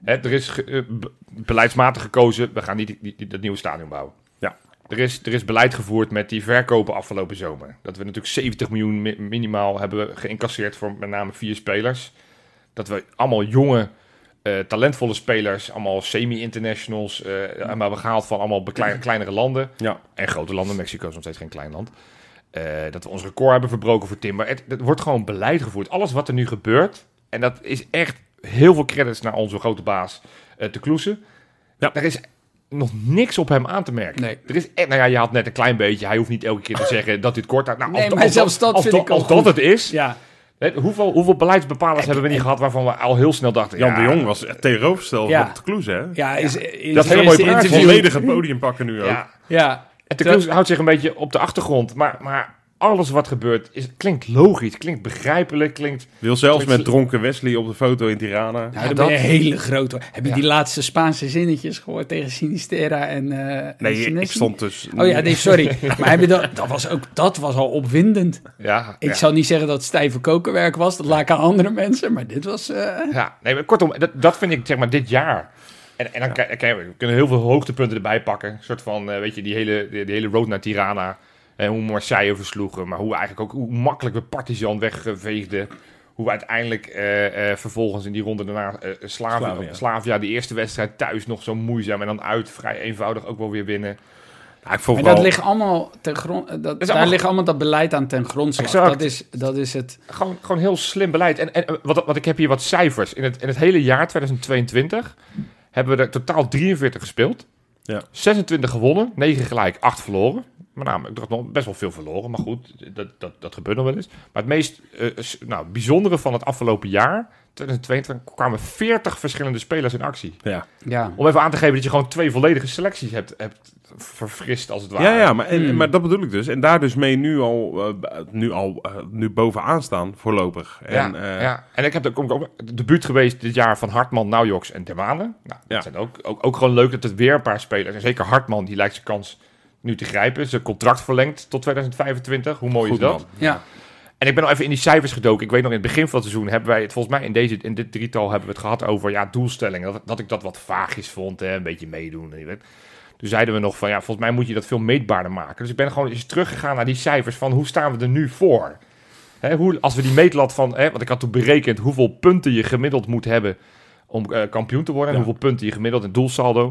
S2: Hè, er is ge- eh, be- beleidsmatig gekozen, we gaan niet die- die- dat nieuwe stadion bouwen.
S1: Ja.
S2: Er is, er is beleid gevoerd met die verkopen afgelopen zomer. Dat we natuurlijk 70 miljoen mi- minimaal hebben geïncasseerd voor met name vier spelers. Dat we allemaal jonge, eh, talentvolle spelers, allemaal semi-internationals, eh maar we gehaald van allemaal bekle- kleinere landen.
S1: Ja.
S2: En grote landen. Mexico is nog steeds geen klein land. Eh, dat we ons record hebben verbroken voor timber. Het, het wordt gewoon beleid gevoerd. Alles wat er nu gebeurt. En dat is echt heel veel credits naar onze grote baas eh te kloesen.
S1: Ja.
S2: Daar is nog niks op hem aan te merken.
S3: Nee. Ah.
S2: Er is echt, nou ja, je had net een klein beetje. Hij hoeft niet elke keer te zeggen dat dit kort uit. Nou,
S3: Nee,
S2: als-
S3: maar
S2: als
S3: zelfs dat
S2: als
S3: vind ik al
S2: Als dat
S3: goed.
S2: het is.
S3: Ja.
S2: Hè, hoeveel, hoeveel beleidsbepalers hebben we niet gehad waarvan we al heel snel dachten.
S1: Jan
S2: ja,
S1: de Jong was het tegenovergestelde
S3: Ja.
S1: van de Kloes, hè?
S3: Ja, is, in
S2: Dat hele
S3: zijn
S2: mooie
S3: eerste
S2: praatje.
S3: interview.
S1: Volledig het podium pakken nu ook.
S2: Ja,
S3: Ja.
S2: En de Kroes houdt zich een beetje op de achtergrond. Maar, maar alles wat gebeurt is, klinkt logisch, klinkt begrijpelijk, klinkt...
S1: Wil zelfs met dronken Wesley op de foto in Tirana.
S3: Ja,
S2: Ja,
S3: Nou, dat
S2: dat-
S3: ben je hele groot hoor. Heb je
S2: Ja.
S3: die laatste Spaanse zinnetjes gehoord tegen Sinistera en eh, en
S1: nee, ik
S3: Senesi?
S1: stond dus...
S3: Oh ja, nee,
S2: *laughs*
S3: sorry. maar heb je dat, dat, was ook, dat was al opwindend.
S2: Ja,
S3: Ik
S2: ja.
S3: zal niet zeggen dat het stijve kokenwerk was. Dat laat ik aan andere mensen. Maar dit was... eh,
S2: Ja, nee, maar kortom, dat, dat vind ik zeg maar dit jaar. En, en dan kijk- kijk, we kunnen heel veel hoogtepunten erbij pakken. Een soort van, eh, weet je, die hele, die, die hele road naar Tirana. En hoe Marseille versloegen. Maar hoe we eigenlijk ook, hoe makkelijk we Partizan wegveegden. Hoe we uiteindelijk eh, eh, vervolgens in die ronde daarna eh, Slavia,
S1: Slavia.
S2: Slavia, die eerste wedstrijd thuis nog zo moeizaam. En dan uit vrij eenvoudig ook wel weer winnen.
S1: Nou, ik vond
S3: Maar
S1: wel...
S3: dat ligt allemaal ten grond. eh,
S2: is
S3: Dat, daar
S2: allemaal-
S3: ligt allemaal dat beleid aan ten grondslag.
S2: Exact.
S3: Dat is, dat is het.
S2: Gewoon, gewoon heel slim beleid. En, en eh, wat, wat ik heb hier wat cijfers. In het, in het hele jaar 2022 hebben we er totaal 43 gespeeld.
S1: Ja.
S2: 26 gewonnen, 9 gelijk, 8 verloren. Maar nou, ik dacht nog best wel veel verloren. Maar goed, dat, dat, dat gebeurt nog wel eens. Maar het meest eh, s- nou, bijzondere van het afgelopen jaar, 2022, kwamen 40 verschillende spelers in actie.
S1: Ja.
S3: Ja.
S2: Om even aan te geven dat je gewoon twee volledige selecties hebt, hebt verfrist, als het ware.
S1: Ja, ja maar, en,
S3: Hmm.
S1: maar dat bedoel ik dus. En daar dus mee nu al, eh, b- nu al eh, nu bovenaan staan voorlopig. En,
S2: ja,
S1: eh,
S2: ja, en ik heb dan kom ik ook de buurt geweest dit jaar van Hartman, Naujoks en Termanen. Nou, dat
S1: Ja.
S2: zijn ook, ook, ook gewoon leuk dat het weer een paar spelers. En zeker Hartman, die lijkt zijn kans nu te grijpen. Zijn contract verlengd tot 2025. Hoe mooi
S1: Goed
S2: is dat?
S1: man.
S3: ja.
S2: En ik ben al even in die cijfers gedoken. Ik weet nog in het begin van het seizoen hebben wij het volgens mij in, deze, in dit drietal hebben we het gehad over ja, doelstellingen. Dat, dat ik dat wat vaagjes vond, hè, een beetje meedoen. En je weet. Toen zeiden we nog van ja, volgens mij moet je dat veel meetbaarder maken. Dus ik ben gewoon eens teruggegaan naar die cijfers van hoe staan we er nu voor? Hè, hoe, als we die meetlat van, hè, want ik had toen berekend hoeveel punten je gemiddeld moet hebben om eh, kampioen te worden. En
S1: Ja.
S2: hoeveel punten je gemiddeld in doelsaldo.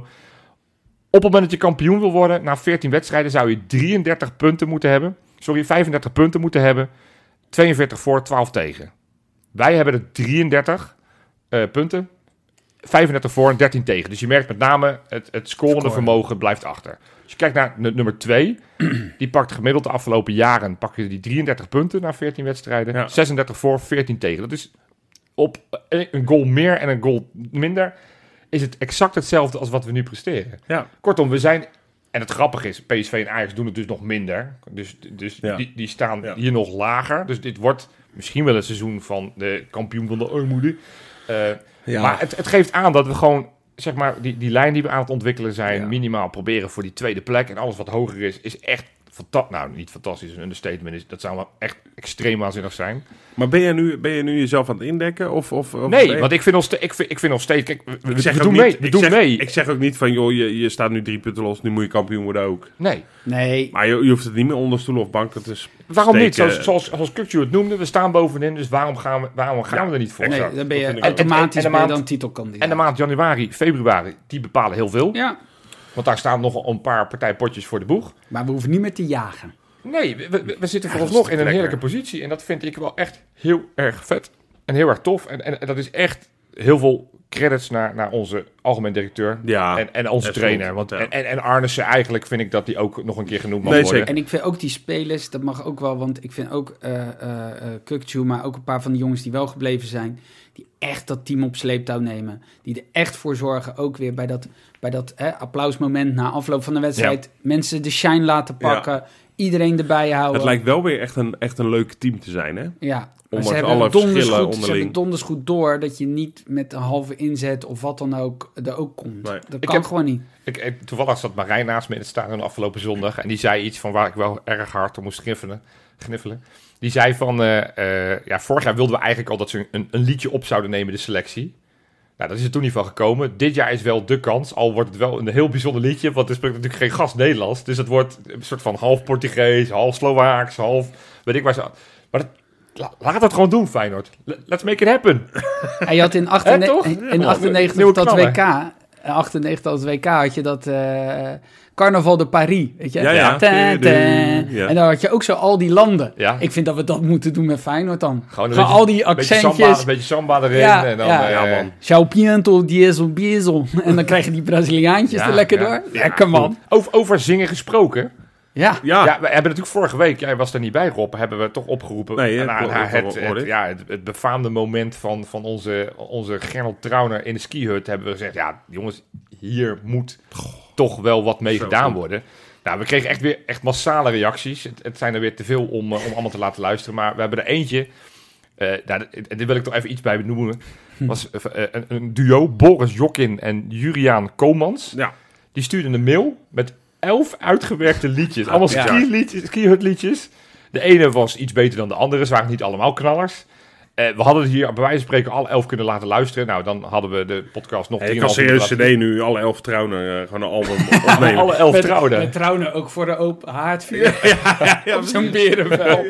S2: Op het moment dat je kampioen wil worden, na 14 wedstrijden zou je 33 punten moeten hebben. Sorry, 35 punten moeten hebben. 42 voor, 12 tegen. Wij hebben er 33 eh, punten. 35 voor en 13 tegen. Dus je merkt met name het, het scorende
S3: Scoren.
S2: vermogen blijft achter. Als je kijkt naar nu- nummer 2, die pakt gemiddeld de afgelopen jaren pak je die 33 punten na 14 wedstrijden.
S1: Ja.
S2: 36 voor, 14 tegen. Dat is op eh, een goal meer en een goal minder. Is het exact hetzelfde als wat we nu presteren.
S1: Ja.
S2: Kortom, we zijn. En het grappige is, PSV en Ajax doen het dus nog minder. Dus, dus
S1: Ja.
S2: die, die staan
S1: Ja.
S2: hier nog lager. Dus dit wordt misschien wel een seizoen van de kampioen van de armoede. Eh,
S1: Ja.
S2: Maar het, het geeft aan dat we gewoon, zeg maar, die, die lijn die we aan het ontwikkelen zijn,
S1: Ja.
S2: minimaal proberen voor die tweede plek. En alles wat hoger is, is echt fantastisch. Nou, niet fantastisch, een understatement is. Dat zou wel echt extreem waanzinnig zijn.
S1: Maar ben je, nu, ben je nu jezelf aan het indekken? Of, of, of ben
S2: Nee,
S1: je-
S2: want ik vind ons, te- ik vind, ik vind ons steeds. Kijk, we, we-
S1: Ik zeg
S2: we
S1: ook
S2: doen
S1: niet-
S2: mee. We
S1: ik
S2: doen
S1: zeg-
S2: mee.
S1: Ik zeg ook niet van, joh, je, je staat nu drie punten los, nu moet je kampioen worden ook.
S2: nee.
S3: Nee.
S1: Maar je, je hoeft het niet meer onder stoelen of banken te steken.
S2: Waarom niet?
S1: eh,
S2: Zoals, zoals, zoals Kukju het noemde, we staan bovenin, dus waarom gaan we, waarom gaan
S1: Ja,
S2: we er niet voor?
S1: exact.
S3: nee, dan ben
S1: dat vind
S3: je
S1: ik ook.
S3: automatisch
S2: En de
S3: ben je
S2: maand-
S3: dan titelkandidaat.
S2: En de maand januari, februari, die bepalen heel veel.
S3: Ja,
S2: Want daar staan nog een paar partijpotjes voor de boeg.
S3: maar we hoeven niet meer te jagen.
S2: Nee, we, we, we zitten
S1: Ja, dat is
S2: vooralsnog
S1: toch
S2: in een
S1: lekker.
S2: heerlijke positie. En dat vind ik wel echt heel erg vet. En heel erg tof. En, en, en dat is echt heel veel credits naar, naar onze algemeen directeur.
S1: Ja,
S2: En, en onze
S1: dat is
S2: trainer.
S1: goed.
S2: Want,
S1: Ja.
S2: en, en, en Arnissen eigenlijk vind ik dat die ook nog een keer genoemd mag
S1: Nee, *laughs*
S2: worden.
S1: zeker.
S3: En ik vind ook die spelers, dat mag ook wel, want ik vind ook eh eh, eh, Kukçu, maar ook een paar van de jongens die wel gebleven zijn, die echt dat team op sleeptouw nemen. Die er echt voor zorgen, ook weer bij dat, bij dat hè, applausmoment na afloop van de wedstrijd, mensen de shine laten pakken, iedereen erbij houden.
S1: Het lijkt wel weer echt een, echt een leuk team te zijn, hè?
S3: Ja, maar
S1: Ondanks
S3: ze hebben,
S1: alle
S3: donders
S1: verschillen
S3: goed, ze
S1: onderling.
S3: hebben donders goed door dat je niet met een halve inzet of wat dan ook er ook komt.
S1: Nee.
S3: Dat
S2: Ik
S3: kan
S2: heb-
S3: gewoon niet.
S2: Ik, ik- toevallig zat Marijn naast me in het stadion afgelopen zondag. En die zei iets van waar ik wel erg hard om moest gniffelen. gniffelen. Die zei van, eh, eh, ja, vorig jaar wilden we eigenlijk al dat ze een, een liedje op zouden nemen, de selectie. Nou, dat is er toen niet van gekomen. Dit jaar is wel de kans, al wordt het wel een heel bijzonder liedje. Want er spreekt natuurlijk geen gast Nederlands. Dus het wordt een soort van half Portugees, half Slovaaks, half weet ik waar ze... Maar dat, la- laat dat gewoon doen, Feyenoord. L- Let's make it happen.
S3: Hij had in,
S2: Hè, toch?
S3: 98, in
S2: Ja,
S3: 98
S2: nieuwe
S3: dat
S2: knaller.
S3: WK, eh, 98 dat WK had je dat eh, Carnaval de Paris, weet je?
S1: Ja, ja.
S3: Ta, ta.
S1: Ja.
S3: En dan had je ook zo al die landen.
S2: Ja.
S3: Ik vind dat we dat moeten doen met Feyenoord dan.
S2: Gewoon een
S3: Gewoon
S2: beetje-
S3: al die
S2: Beetje samba,
S3: accentjes.
S2: een beetje samba erin.
S3: Ja,
S2: en dan,
S3: ja.
S2: eh,
S1: Ja, man.
S3: Ciao piento, diesel, diesel. *laughs* En dan krijgen die Braziliaantjes
S2: Ja,
S3: er lekker
S2: ja.
S3: door. Lekker man.
S2: Over, over zingen gesproken.
S3: Ja.
S1: Ja,
S2: Ja, we hebben natuurlijk vorige week, jij was er niet bij Rob, hebben we toch opgeroepen
S1: Nee, hè,
S2: naar-
S1: klopt,
S2: naar
S1: dat
S2: het,
S1: hoor
S2: het-
S1: ik.
S2: ja, het, het befaamde moment van, van onze, onze Gernot Trauner in de skihut. Hebben we gezegd, ja jongens, hier moet toch wel wat mee
S1: Zo
S2: gedaan
S1: goed.
S2: worden. Nou, we kregen echt weer echt massale reacties. Het, het zijn er weer te veel om, eh, om allemaal te laten luisteren, maar we hebben er eentje. eh nou, en dit wil ik toch even iets bij benoemen.
S1: Hm.
S2: Was eh, een, een duo, Boris Jokin en Juriaan Komans.
S1: Ja.
S2: Die stuurden een mail met elf uitgewerkte liedjes. Allemaal
S1: Ja.
S2: ski-liedjes, ski-hut liedjes. De ene was iets beter dan de andere. Ze waren niet allemaal knallers. Eh, we hadden hier bij wijze van spreken alle elf kunnen laten luisteren. Nou, dan hadden we de podcast nog...
S1: Hey, ik kan
S2: 3,5
S1: serieus
S2: minuten
S1: CD nu alle elf trouwen eh, gewoon een album
S3: *laughs*
S2: laten-
S1: opnemen.
S2: Alle elf
S3: Met-
S2: trouwden.
S3: Met trouwen ook voor de open haardvuur. *laughs* Op zo'n berenvel.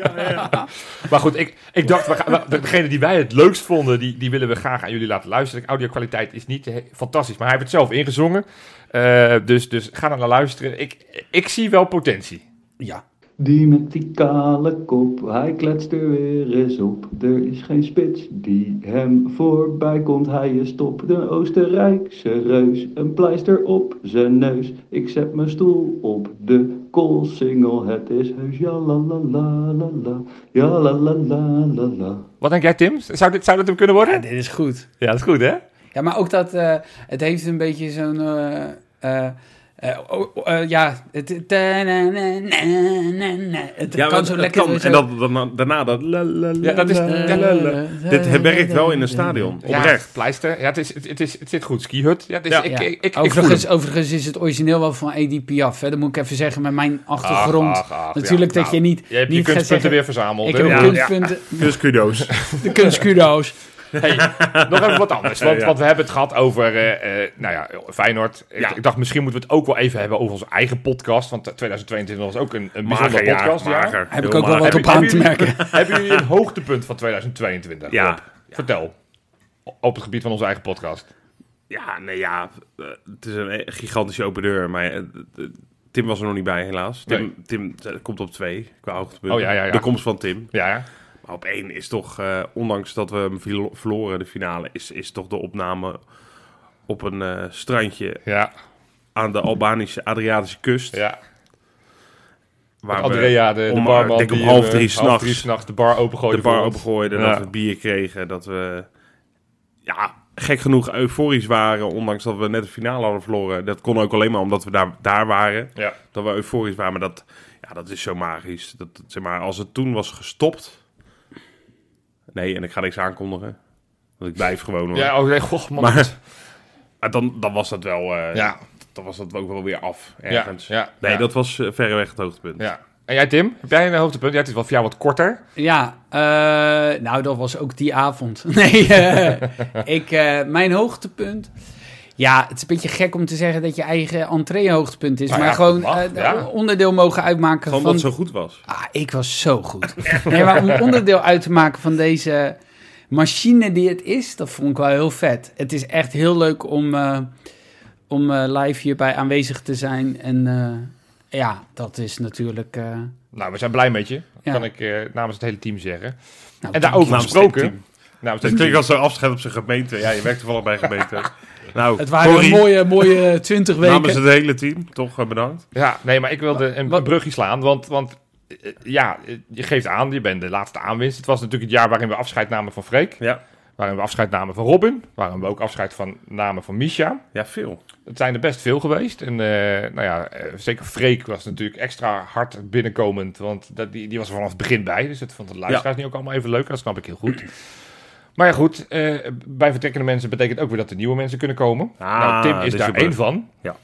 S2: Maar goed, ik, ik dacht, we gaan, we- degene die wij het leukst vonden, die, die willen we graag aan jullie laten luisteren. De audiokwaliteit is niet he- fantastisch, maar hij heeft het zelf ingezongen. Eh, dus, dus ga er naar luisteren. Ik, ik zie wel potentie.
S3: Ja.
S5: Die met die kale kop, hij kletst er weer eens op. Er is geen spits die hem voorbij komt. Hij is top, de Oostenrijkse reus. Een pleister op zijn neus. Ik zet mijn stoel op de koolsingel. Het is heus, ja la la la la la. Ja la la la la la.
S2: Wat denk jij, Tim? Zou dit, zou dit hem kunnen
S3: ja,
S2: worden?
S3: dit is goed.
S2: Ja, dat is goed, hè?
S3: Ja, maar ook dat eh, het heeft een beetje zo'n. eh, eh, eh, oh, oh, eh, ja, het, het, het
S1: Ja,
S3: kan
S1: want
S3: zo
S1: het
S3: lekker.
S1: kan.
S3: zo-
S1: En dat, dan- daarna dat... la, la, la,
S2: Ja, dat is-
S1: la, la, la, la. Dit he- werkt wel in een stadion. Oprecht.
S2: Ja, pleister. Ja, het, is, het, het is, het zit goed. Ski hut. Ja, het is,
S1: Ja.
S2: Ik,
S3: Ja.
S2: ik, ik, ik voel
S3: overigens,
S2: hem.
S3: overigens is het origineel wel van Edie Piaf. Hè? Dat moet ik even zeggen met mijn achtergrond.
S2: Ach, ach, ach,
S3: Natuurlijk
S2: ja. Nou,
S3: dat je niet-
S2: Je hebt
S3: niet
S2: je
S3: gaat
S2: kunstpunten
S3: zeggen-
S2: weer verzameld.
S3: ik
S2: hè?
S3: heb
S1: ja.
S3: kunstpunten,
S1: Dus kudo's.
S3: de kunstkudo's.
S2: Hey, nog even wat anders. Want,
S1: Ja.
S2: want we hebben het gehad over eh, eh, nou ja, Feyenoord. Ik,
S1: Ja.
S2: ik dacht, misschien moeten we het ook wel even hebben over onze eigen podcast. Want 2022 was ook een, een bijzonder
S1: *laughs* Mager, ja.
S2: podcast.
S1: Mager.
S2: Ja.
S3: Heb ik
S1: Heel
S3: ook wel
S1: mager.
S3: wat op aan te merken.
S2: *laughs* Hebben jullie een hoogtepunt van 2022?
S1: Ja.
S2: Rob? Vertel. O- Op het gebied van onze eigen podcast.
S1: Ja, nee, ja. eh, Het is een gigantische open deur, maar eh, eh, Tim was er nog niet bij, helaas. Tim,
S2: Nee.
S1: Tim eh, komt op twee, qua hoogtepunt.
S2: Oh, ja, ja, ja.
S1: De komst van Tim.
S2: Ja, ja.
S1: Maar op één is toch, eh, ondanks dat we hem viel- verloren, de finale, is, is toch de opname op een eh, strandje
S2: ja,
S1: aan de Albanische Adriatische kust.
S2: ja.
S1: waar we
S2: Andrea, de, de
S1: om,
S2: barman,
S1: eh, denk om
S2: die,
S1: half
S2: eh,
S1: drie
S2: half drie
S1: s'nachts
S2: s'nachts de bar opengooide.
S1: de bar
S2: voor ons.
S1: opgooiden,
S2: Ja.
S1: dat we bier kregen, dat we... Ja, gek genoeg euforisch waren, ondanks dat we net de finale hadden verloren. Dat kon ook alleen maar omdat we daar, daar waren.
S2: Ja.
S1: dat we euforisch waren. Maar dat, ja, dat is zo magisch. Dat, dat- zeg maar, als het toen was gestopt... Nee, en ik ga niks aankondigen. Want ik blijf gewoon hoor.
S2: Ja, oh nee, goh, man.
S1: Maar- Maar dan, dan was dat wel... eh,
S2: *laughs* ja,
S1: Dan was dat ook wel weer af
S2: ja,
S1: ergens.
S2: ja.
S1: Nee,
S2: ja.
S1: dat was eh, verreweg het hoogtepunt.
S2: Ja. En jij, Tim? Heb jij een hoogtepunt? Ja, het is wel voor jou wat korter.
S3: Ja, eh, nou, dat was ook die avond. *laughs* Nee, eh, ik, eh, mijn hoogtepunt. Ja, het is een beetje gek om te zeggen dat je eigen entree hoogtepunt is.
S2: Nou
S3: maar
S2: ja,
S3: gewoon
S2: mag,
S3: eh,
S2: ja.
S3: onderdeel mogen uitmaken
S1: Gewoon
S3: van...
S1: dat het zo goed was.
S3: Ah, ik was zo goed. Nee, maar om onderdeel uit te maken van deze machine die het is, dat vond ik wel heel vet. Het is echt heel leuk om, eh, om eh, live hierbij aanwezig te zijn. En eh, ja, dat is natuurlijk... eh,
S2: Nou, we zijn blij met je.
S3: Ja.
S2: Kan ik eh, namens het hele team zeggen.
S3: nou,
S2: en daarover
S1: namens het
S2: gesproken.
S1: team.
S2: Namens
S1: Dat klinkt
S2: het team.
S1: als zo'n afscheid op zijn gemeente. Ja, je werkt toevallig
S2: *laughs*
S1: bij een gemeente. Nou,
S3: Het waren
S1: sorry,
S3: mooie, *laughs* mooie twintig
S1: namens
S3: weken.
S1: het hele team. Toch eh, bedankt.
S2: Ja, nee, maar ik wilde een,
S3: Wat-
S2: een brugje slaan. Want, want eh, ja, eh, je geeft aan, je bent de laatste aanwinst. Het was natuurlijk het jaar waarin we afscheid namen van Freek.
S1: Ja,
S2: Waarin we afscheid namen van Robin. Waarin we ook afscheid van, namen van Misha.
S1: ja veel.
S2: Het zijn er best veel geweest. En eh, nou ja, eh, zeker Freek was natuurlijk extra hard binnenkomend. Want dat, die, die was er vanaf het begin bij. Dus dat vond de luisteraars nu ook allemaal even leuk. Dat snap ik heel goed. Maar ja, goed. eh, bij vertrekkende mensen betekent ook weer dat er nieuwe mensen kunnen komen.
S1: Ah,
S2: nou, Tim is
S1: dus
S2: daar
S1: je brug.
S2: één van.
S1: Ja.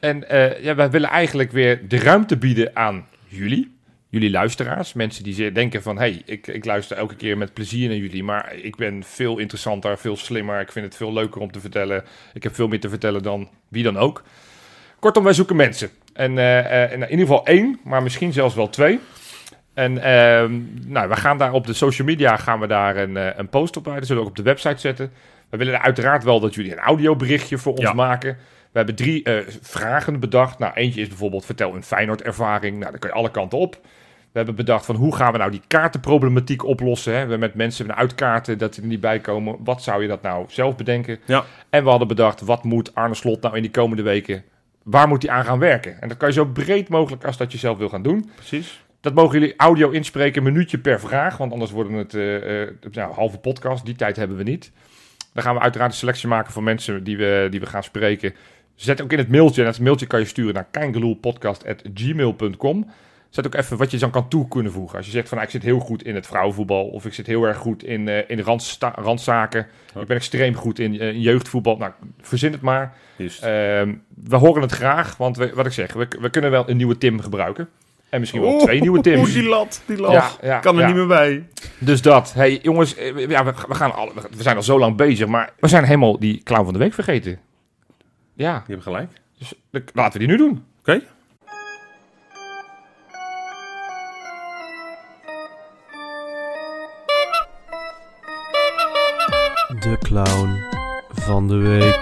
S2: En eh, ja, wij willen eigenlijk weer de ruimte bieden aan jullie. Jullie luisteraars. Mensen die ze- denken van... hey, ik, ik luister elke keer met plezier naar jullie... maar ik ben veel interessanter, veel slimmer. Ik vind het veel leuker om te vertellen. Ik heb veel meer te vertellen dan wie dan ook. Kortom, wij zoeken mensen. En eh, eh, in ieder geval één, maar misschien zelfs wel twee. En ehm, nou, we gaan daar op de social media gaan we daar een, eh, een post op uit. Dat zullen we ook op de website zetten. We willen uiteraard wel dat jullie een audioberichtje voor ons
S1: Ja.
S2: maken. We hebben drie eh, vragen bedacht. Nou, eentje is bijvoorbeeld vertel een Feyenoord-ervaring. Nou, daar kun je alle kanten op. We hebben bedacht van hoe gaan we nou die kaartenproblematiek oplossen. Hè? We met mensen met uitkaarten dat die er niet bij komen. Wat zou je dat nou zelf bedenken?
S1: Ja.
S2: En we hadden bedacht, wat moet Arne Slot nou in die komende weken... waar moet hij aan gaan werken? En dat kan je zo breed mogelijk als dat je zelf wil gaan doen.
S1: Precies.
S2: Dat mogen jullie audio inspreken, een minuutje per vraag. Want anders worden het eh, eh, nou, halve podcast. Die tijd hebben we niet. Dan gaan we uiteraard een selectie maken van mensen die we, die we gaan spreken. Zet ook in het mailtje. En dat mailtje kan je sturen naar kangeloelpodcast.gmail.com. Zet ook even wat je dan kan toe kunnen voegen. Als je zegt van nou, ik zit heel goed in het vrouwenvoetbal. Of ik zit heel erg goed in, eh, in randsta- randzaken. Ik ben extreem goed in, eh, in jeugdvoetbal. Nou, verzin het maar.
S1: Juist.
S2: Ehm, we horen het graag, want we, wat ik zeg, we, we kunnen wel een nieuwe Tim gebruiken. En misschien wel twee nieuwe Tims.
S1: Oeh, die lat, die lat.
S2: Ja, ja,
S1: kan er
S2: ja.
S1: niet meer bij.
S2: Dus dat. Hey, jongens, eh, ja, we, we, gaan al, we zijn al zo lang bezig, maar we zijn helemaal die clown van de week vergeten. Ja,
S1: Je hebt gelijk.
S2: dus de- laten we die nu doen.
S1: Oké.
S6: De clown van de week.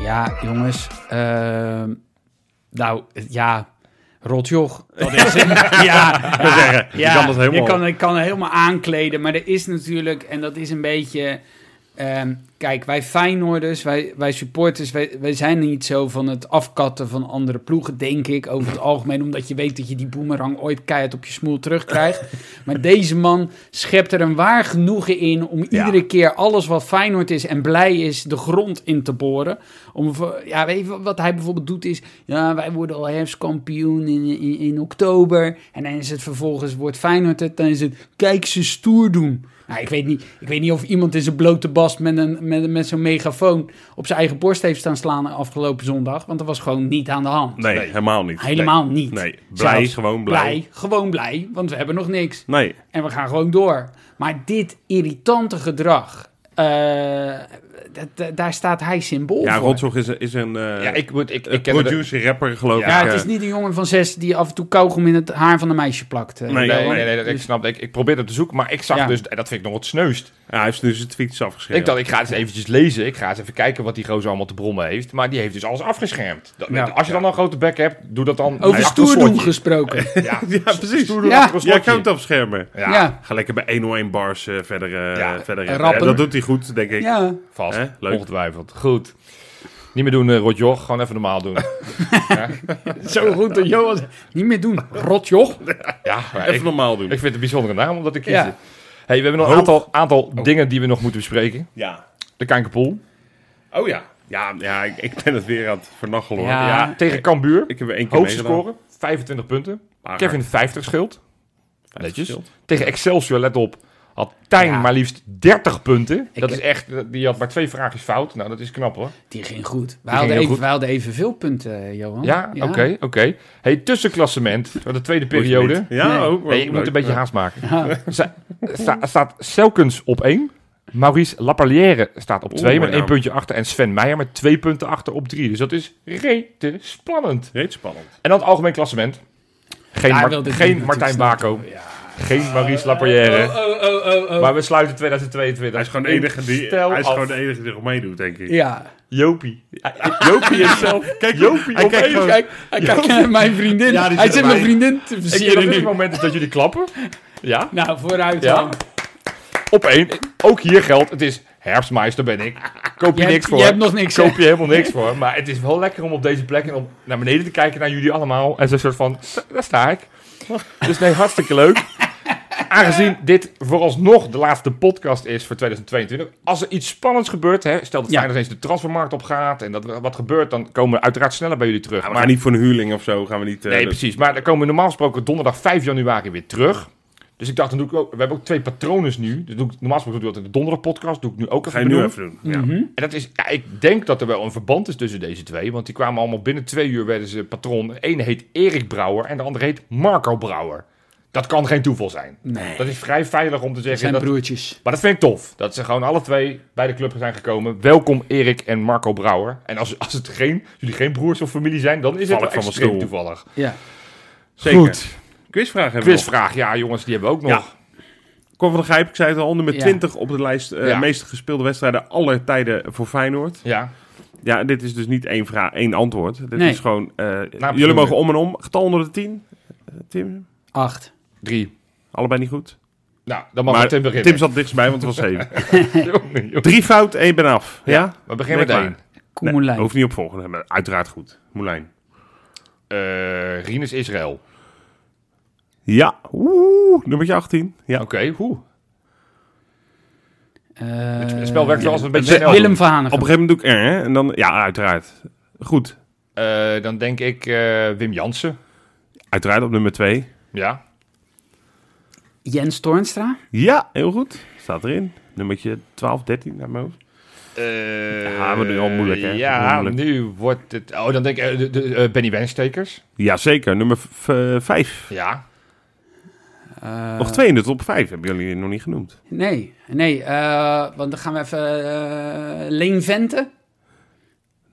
S3: Ja, jongens. ehm, nou, ja, rotjoch. Dat is het. *laughs* ja, ja,
S1: je kan dat helemaal-
S3: Je kan, ik kan het helemaal aankleden, maar er is natuurlijk... En dat is een beetje... ehm, kijk, wij Feyenoorders, wij, wij supporters... Wij, wij zijn niet zo van het afkatten van andere ploegen, denk ik. Over het algemeen, omdat je weet dat je die boemerang ooit keihard op je smoel *laughs* terugkrijgt. Maar deze man schept er een waar genoegen in om iedere keer alles wat Feyenoord is en blij is, de grond in te boren. Om, voor- ja, weet je, wat hij bijvoorbeeld doet is, ja, wij worden al herfstkampioen in, in, in oktober. En dan is het vervolgens, wordt Feyenoord het, dan is het, kijk ze stoer doen. Nou, ik, weet niet, ik weet niet of iemand in zijn blote bast met, een, met, met zo'n megafoon op zijn eigen borst heeft staan slaan afgelopen zondag. Want dat was gewoon niet aan de hand.
S1: Nee, helemaal niet.
S3: Helemaal niet.
S1: Nee, blij,
S3: Zelfs
S1: gewoon blij.
S3: Gewoon blij, want we hebben nog niks.
S1: Nee. nee.
S3: En we gaan gewoon door. Maar dit irritante gedrag, eh, d- d- daar staat hij symbool
S1: Ja,
S3: voor.
S1: Rotzog is, is een eh,
S2: Ja, ik, moet, ik,
S1: een
S2: ik ken het-
S1: producer, rapper geloof ik.
S3: Ja, het
S1: eh.
S3: is niet een jongen van zes die af en toe kauwgom in het haar van een meisje plakt. eh.
S1: Nee,
S2: Nee,
S1: joh,
S2: nee, nee, dat- ik
S3: Dus-
S2: snap dat. Ik, ik probeerde het te zoeken, maar ik zag
S3: Ja.
S2: dus, en dat vind ik nog het sneuwst.
S1: Ja, hij heeft nu zijn tweets afgeschreven.
S2: Ik dacht, ik ga eens eventjes lezen. Ik ga eens even kijken wat die gozer allemaal te brommen heeft. Maar die heeft dus alles afgeschermd. Dat-
S3: Nou, Ja.
S2: Als je dan al een grote bek hebt, doe dat dan
S3: Over
S2: achter een
S3: stoer doen
S2: slotje.
S3: gesproken.
S2: Ja,
S1: *laughs* ja, precies.
S2: stoer doen
S3: *laughs* Ja.
S2: achter een
S1: Jij
S2: slotje.
S1: kan het afschermen.
S2: Ja,
S3: ja.
S1: Ga lekker bij 101 bars eh, verder, eh,
S2: Ja,
S1: verder
S3: en
S1: rappen.
S3: rappen.
S1: Ja, dat doet hij goed, denk ik.
S3: ja.
S2: vast.
S1: Hè? Leuk.
S2: Ongetwijfeld. Goed. Niet meer doen, eh Rotjoch. Gewoon even normaal doen.
S3: Zo goed dat Johan zei, niet meer doen. Rot joh.
S2: ja, maar
S1: Even
S2: ik,
S1: normaal
S2: ik
S1: doen.
S2: vind het een bijzondere naam omdat ik kies.
S3: Ja.
S2: Hey, we hebben nog een aantal, aantal
S1: Oh.
S2: dingen die we nog moeten bespreken.
S1: Ja.
S2: De Kankerpool.
S1: Oh ja. Ja, ja ik, ik ben het weer aan het vernachelen hoor.
S3: Ja.
S2: Tegen Cambuur.
S1: Ik heb er één keer
S2: Hoogste
S1: meegedaan. Ah,
S2: score. 25 punten.
S1: Maar
S2: Kevin 50 scheelt. Netjes.
S1: scheelt.
S2: Tegen Excelsior, let op, had Tijn
S3: Ja.
S2: maar liefst 30 punten.
S3: Ik- Oh,
S2: dat is echt, eh, die had maar twee vraagjes fout. Nou, dat is knap hoor.
S3: Die ging goed. Wij
S2: heel
S3: hadden, even,
S2: goed.
S3: wij hadden evenveel punten, eh, Johan.
S2: Ja, oké, oké. Hey, tussenklassement, voor de tweede
S1: Hoeft
S2: periode.
S1: niet. Ja,
S3: Nee.
S1: ook.
S2: Hey, ik
S1: ook
S2: moet
S1: leuk.
S2: een beetje
S1: Ja.
S2: haast maken. *laughs* Sta- sta- staat Selkens op 1. Maurice Lapalière staat op
S1: Oeh, nou.
S2: 2 met
S1: mooi
S2: 1
S1: naam.
S2: puntje achter. En Sven Meijer met 2 punten achter op 3. Dus dat is rete spannend.
S1: Reeds spannend.
S2: En dan het algemeen klassement. Geen,
S3: Daar
S2: Mar-
S3: wilde ik
S2: geen
S3: niet
S2: Martijn
S3: natuurlijk
S2: Bako. Geen Maurice Lapalière.
S3: Oh, oh, oh, oh.
S2: Maar we sluiten 2022.
S1: Hij is gewoon de enige die,
S2: Stel
S1: hij is
S2: af.
S1: gewoon de enige die nog meedoet, denk ik.
S3: Ja.
S2: Jopie. *laughs* Jopie is zelf. Kijk, Jopie
S1: hij
S2: op
S1: kijkt
S2: één.
S1: gewoon-
S2: Kijk,
S3: Hij kijkt naar mijn vriendin.
S1: Ja, die
S3: hij
S1: zit
S3: zit
S1: erbij.
S3: mijn vriendin te
S2: ik denk dat
S3: versieren
S2: dit het
S3: nu.
S2: moment is dat jullie klappen. Ja,
S3: Nou, vooruit
S2: Ja.
S3: dan.
S2: op één. Ook hier geldt, het is herfstmeister ben ik. Koop je,
S3: Je
S2: niks
S3: hebt,
S2: voor.
S3: je hebt nog niks, hè?
S2: Koop je helemaal niks voor. Maar het is wel lekker om op deze plek en om naar beneden te kijken naar jullie allemaal. En zo'n soort van, "Sta- daar sta ik. Dus nee, hartstikke leuk. Aangezien dit vooralsnog de laatste podcast is voor 2022. Als er iets spannends gebeurt, hè, stel dat
S3: Ja.
S2: Feyenoord eens de transfermarkt op gaat en dat er wat gebeurt, dan komen we uiteraard sneller bij jullie terug.
S1: Ja, we gaan niet voor een huurling of zo. Gaan we niet, eh,
S2: Nee,
S1: dat-
S2: precies. Maar dan komen we normaal gesproken donderdag 5 januari weer terug. Dus ik dacht, dan doe ik ook, we hebben ook twee patronen nu. Dus doe ik, normaal gesproken doe ik altijd de donderdag podcast. Doe ik nu ook
S1: Ga
S2: even,
S1: je nu
S2: benoemen.
S1: even doen. Ja.
S3: Mhm.
S2: En dat is, ja, ik denk dat er wel een verband is tussen deze twee. Want die kwamen allemaal binnen twee uur werden ze patroon. De ene heet Erik Brouwer en de andere heet Marco Brouwer. Dat kan geen toeval zijn.
S3: Nee.
S2: Dat is vrij veilig om te zeggen.
S3: Zijn
S2: Dat,
S3: broertjes.
S2: maar dat vind ik tof. Dat ze gewoon alle twee bij de club zijn gekomen. Welkom Erik en Marco Brouwer. En als, als het geen, jullie geen broers of familie zijn, dan is
S1: Val
S2: het
S1: ik
S2: wel
S1: van mijn
S2: extreem
S1: stoel.
S2: toevallig.
S3: Ja.
S1: Zeker.
S2: Goed.
S1: Quizvraag hebben we nog.
S2: Quizvraag, ja jongens, die hebben we ook nog.
S1: Ja. Cor van der Gijp, ik zei het al, nummer
S3: Ja.
S1: 20 op de lijst eh,
S2: Ja.
S1: meest gespeelde wedstrijden aller tijden voor Feyenoord.
S2: Ja.
S1: Ja, dit is dus niet één vraag, één antwoord. Dit
S3: Nee.
S1: is gewoon, eh, jullie
S2: noemen.
S1: mogen om en om. Getal onder de 10. Eh, Tim,
S3: Acht.
S2: Drie.
S1: allebei niet goed.
S2: Nou, dan mag
S1: maar
S2: Tim beginnen.
S1: Tim zat dichtstbij, want het was 7.
S2: *laughs* Jongen, jongen.
S1: Drie fout, één ben af. Ja?
S2: We beginnen
S1: Nee,
S2: met
S1: maar-
S2: één.
S3: Koen
S1: Nee,
S3: Moulijn.
S1: hoeft niet opvolgen te hebben. Uiteraard goed. Moulijn.
S2: Eh Rinus Israël.
S1: Ja. Oeh, nummertje 18. Ja.
S2: Oké, hoe?
S3: Eh,
S2: Het spel werkt wel als we het een beetje
S1: Willem-
S2: snel
S3: Willem van Hanegem.
S1: Op een gegeven moment doe ik er, hè? En dan, ja, uiteraard. Goed.
S2: doen. Eh, dan denk ik eh, Wim Jansen.
S1: Uiteraard op nummer 2.
S2: Ja.
S3: Jens Toornstra.
S1: Ja, heel goed. Staat erin. Nummertje 12, 13 naar mijn hoofd.
S2: Eh,
S1: Ja, we doen al moeilijk, hè?
S2: Ja,
S1: Moeilijk.
S2: nu wordt het... Oh, dan denk ik eh, de, de, eh, Benny Wijnstekers.
S1: Jazeker, nummer 5.
S2: Ja.
S3: Eh,
S1: Nog twee in de top 5 hebben jullie nog niet genoemd.
S3: Nee, nee. eh, want dan gaan we even... eh Leen Vente.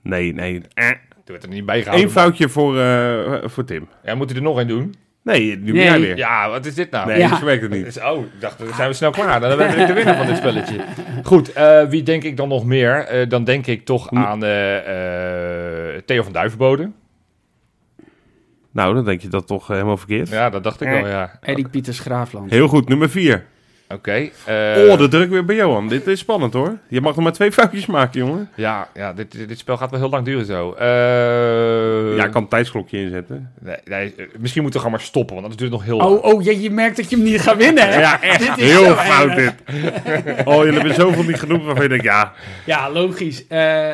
S1: Nee, nee. Eh,
S2: Die werd er niet bij gehouden.
S1: Eén foutje voor, eh, voor Tim.
S2: Ja, moet hij er nog een doen?
S1: Nee, nu ben
S3: Nee.
S1: jij weer.
S2: Ja, wat is dit nou?
S1: Nee,
S3: Ja.
S1: zo werkt het
S2: Het
S1: niet.
S2: Is, oh, ik dacht,
S1: Ah.
S2: dan zijn we snel klaar. Dan ben ik de winnaar van dit spelletje. Goed, eh, wie denk ik dan nog meer? Eh, dan denk ik toch aan eh, eh, Theo van Duivenbode.
S1: Nou, dan denk je dat toch eh, helemaal verkeerd.
S2: Ja, dat dacht ik
S1: Eh.
S2: wel, ja.
S3: Erik Pieters Graafland.
S1: Heel goed, nummer 4.
S2: Oké. eh,
S1: oh, de druk weer bij Johan. Dit is spannend hoor. Je mag nog maar twee foutjes maken, jongen.
S2: Ja, ja dit, dit dit spel gaat wel heel lang duren zo. Eh,
S1: ja, ik kan een tijdsklokje inzetten.
S2: nee, nee, eh, misschien moeten we gewoon maar stoppen, want anders duurt het nog heel lang.
S3: Oh, oh je, je merkt dat je hem niet gaat winnen, hè?
S1: Ja, echt.
S3: Eh, *laughs* Dit is
S1: Heel
S3: zo
S1: fout
S3: erg.
S1: dit. Oh, jullie hebben zoveel niet genoemd waarvan je denkt, ja,
S3: Ja, logisch. Eh,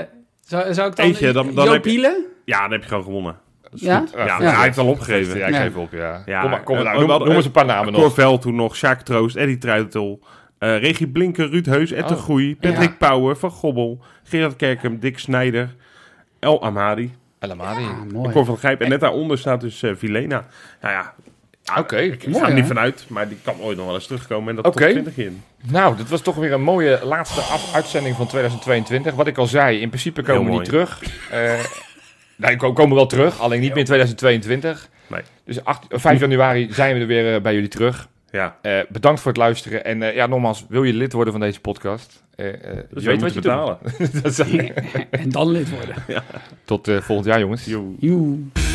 S3: zou, zou ik dan...
S1: Eentje, dan- dan
S3: Joop
S1: heb je-
S3: Hielen?
S1: ja dan heb je gewoon gewonnen.
S3: Ja?
S1: Ja,
S2: Ja,
S1: hij heeft al opgegeven.
S2: Ja, ik
S3: Ja.
S2: geef op, ja.
S1: Ja,
S2: kom maar, kom maar.
S1: eh,
S2: nou,
S1: we
S2: noem,
S1: hadden-
S2: noem eens een paar namen nog.
S1: Corvel toen nog, Sjaak Troost, Eddie Truitel, eh Regie Blinken, Ruud Heus, Ed de
S2: Oh.
S1: Groei, Patrick Pauwen, Van Gobbel, Gerard Kerkem, Dick Snijder, El Amadi,
S2: El Amadi.
S3: Ah,
S1: en
S3: mooi.
S1: Cor van Grijp. En net daaronder staat dus eh, Vilena. Nou ja,
S2: Oké.
S1: ik
S3: Mooi,
S1: ga er niet
S3: hè?
S1: vanuit, maar die kan ooit nog wel eens terugkomen en dat
S2: Oké.
S1: tot 20 in.
S2: Nou, dit was toch weer een mooie laatste af- uitzending van 2022. Wat ik al zei, in principe komen we
S1: Heel
S2: niet terug. Eh nou, we komen wel terug, alleen niet meer in 2022.
S1: Nee.
S2: Dus 8, 5 januari zijn we er weer eh, bij jullie terug.
S1: Ja,
S2: Eh, bedankt voor het luisteren. En eh, ja, nogmaals, wil je lid worden van deze podcast? Eh, eh,
S1: dus
S2: je weet wat
S1: moet
S2: je
S1: betalen.
S2: doet. *laughs* Dat is-
S3: En dan lid worden.
S2: Tot eh, volgend jaar, jongens.
S1: Joe.
S3: Joe.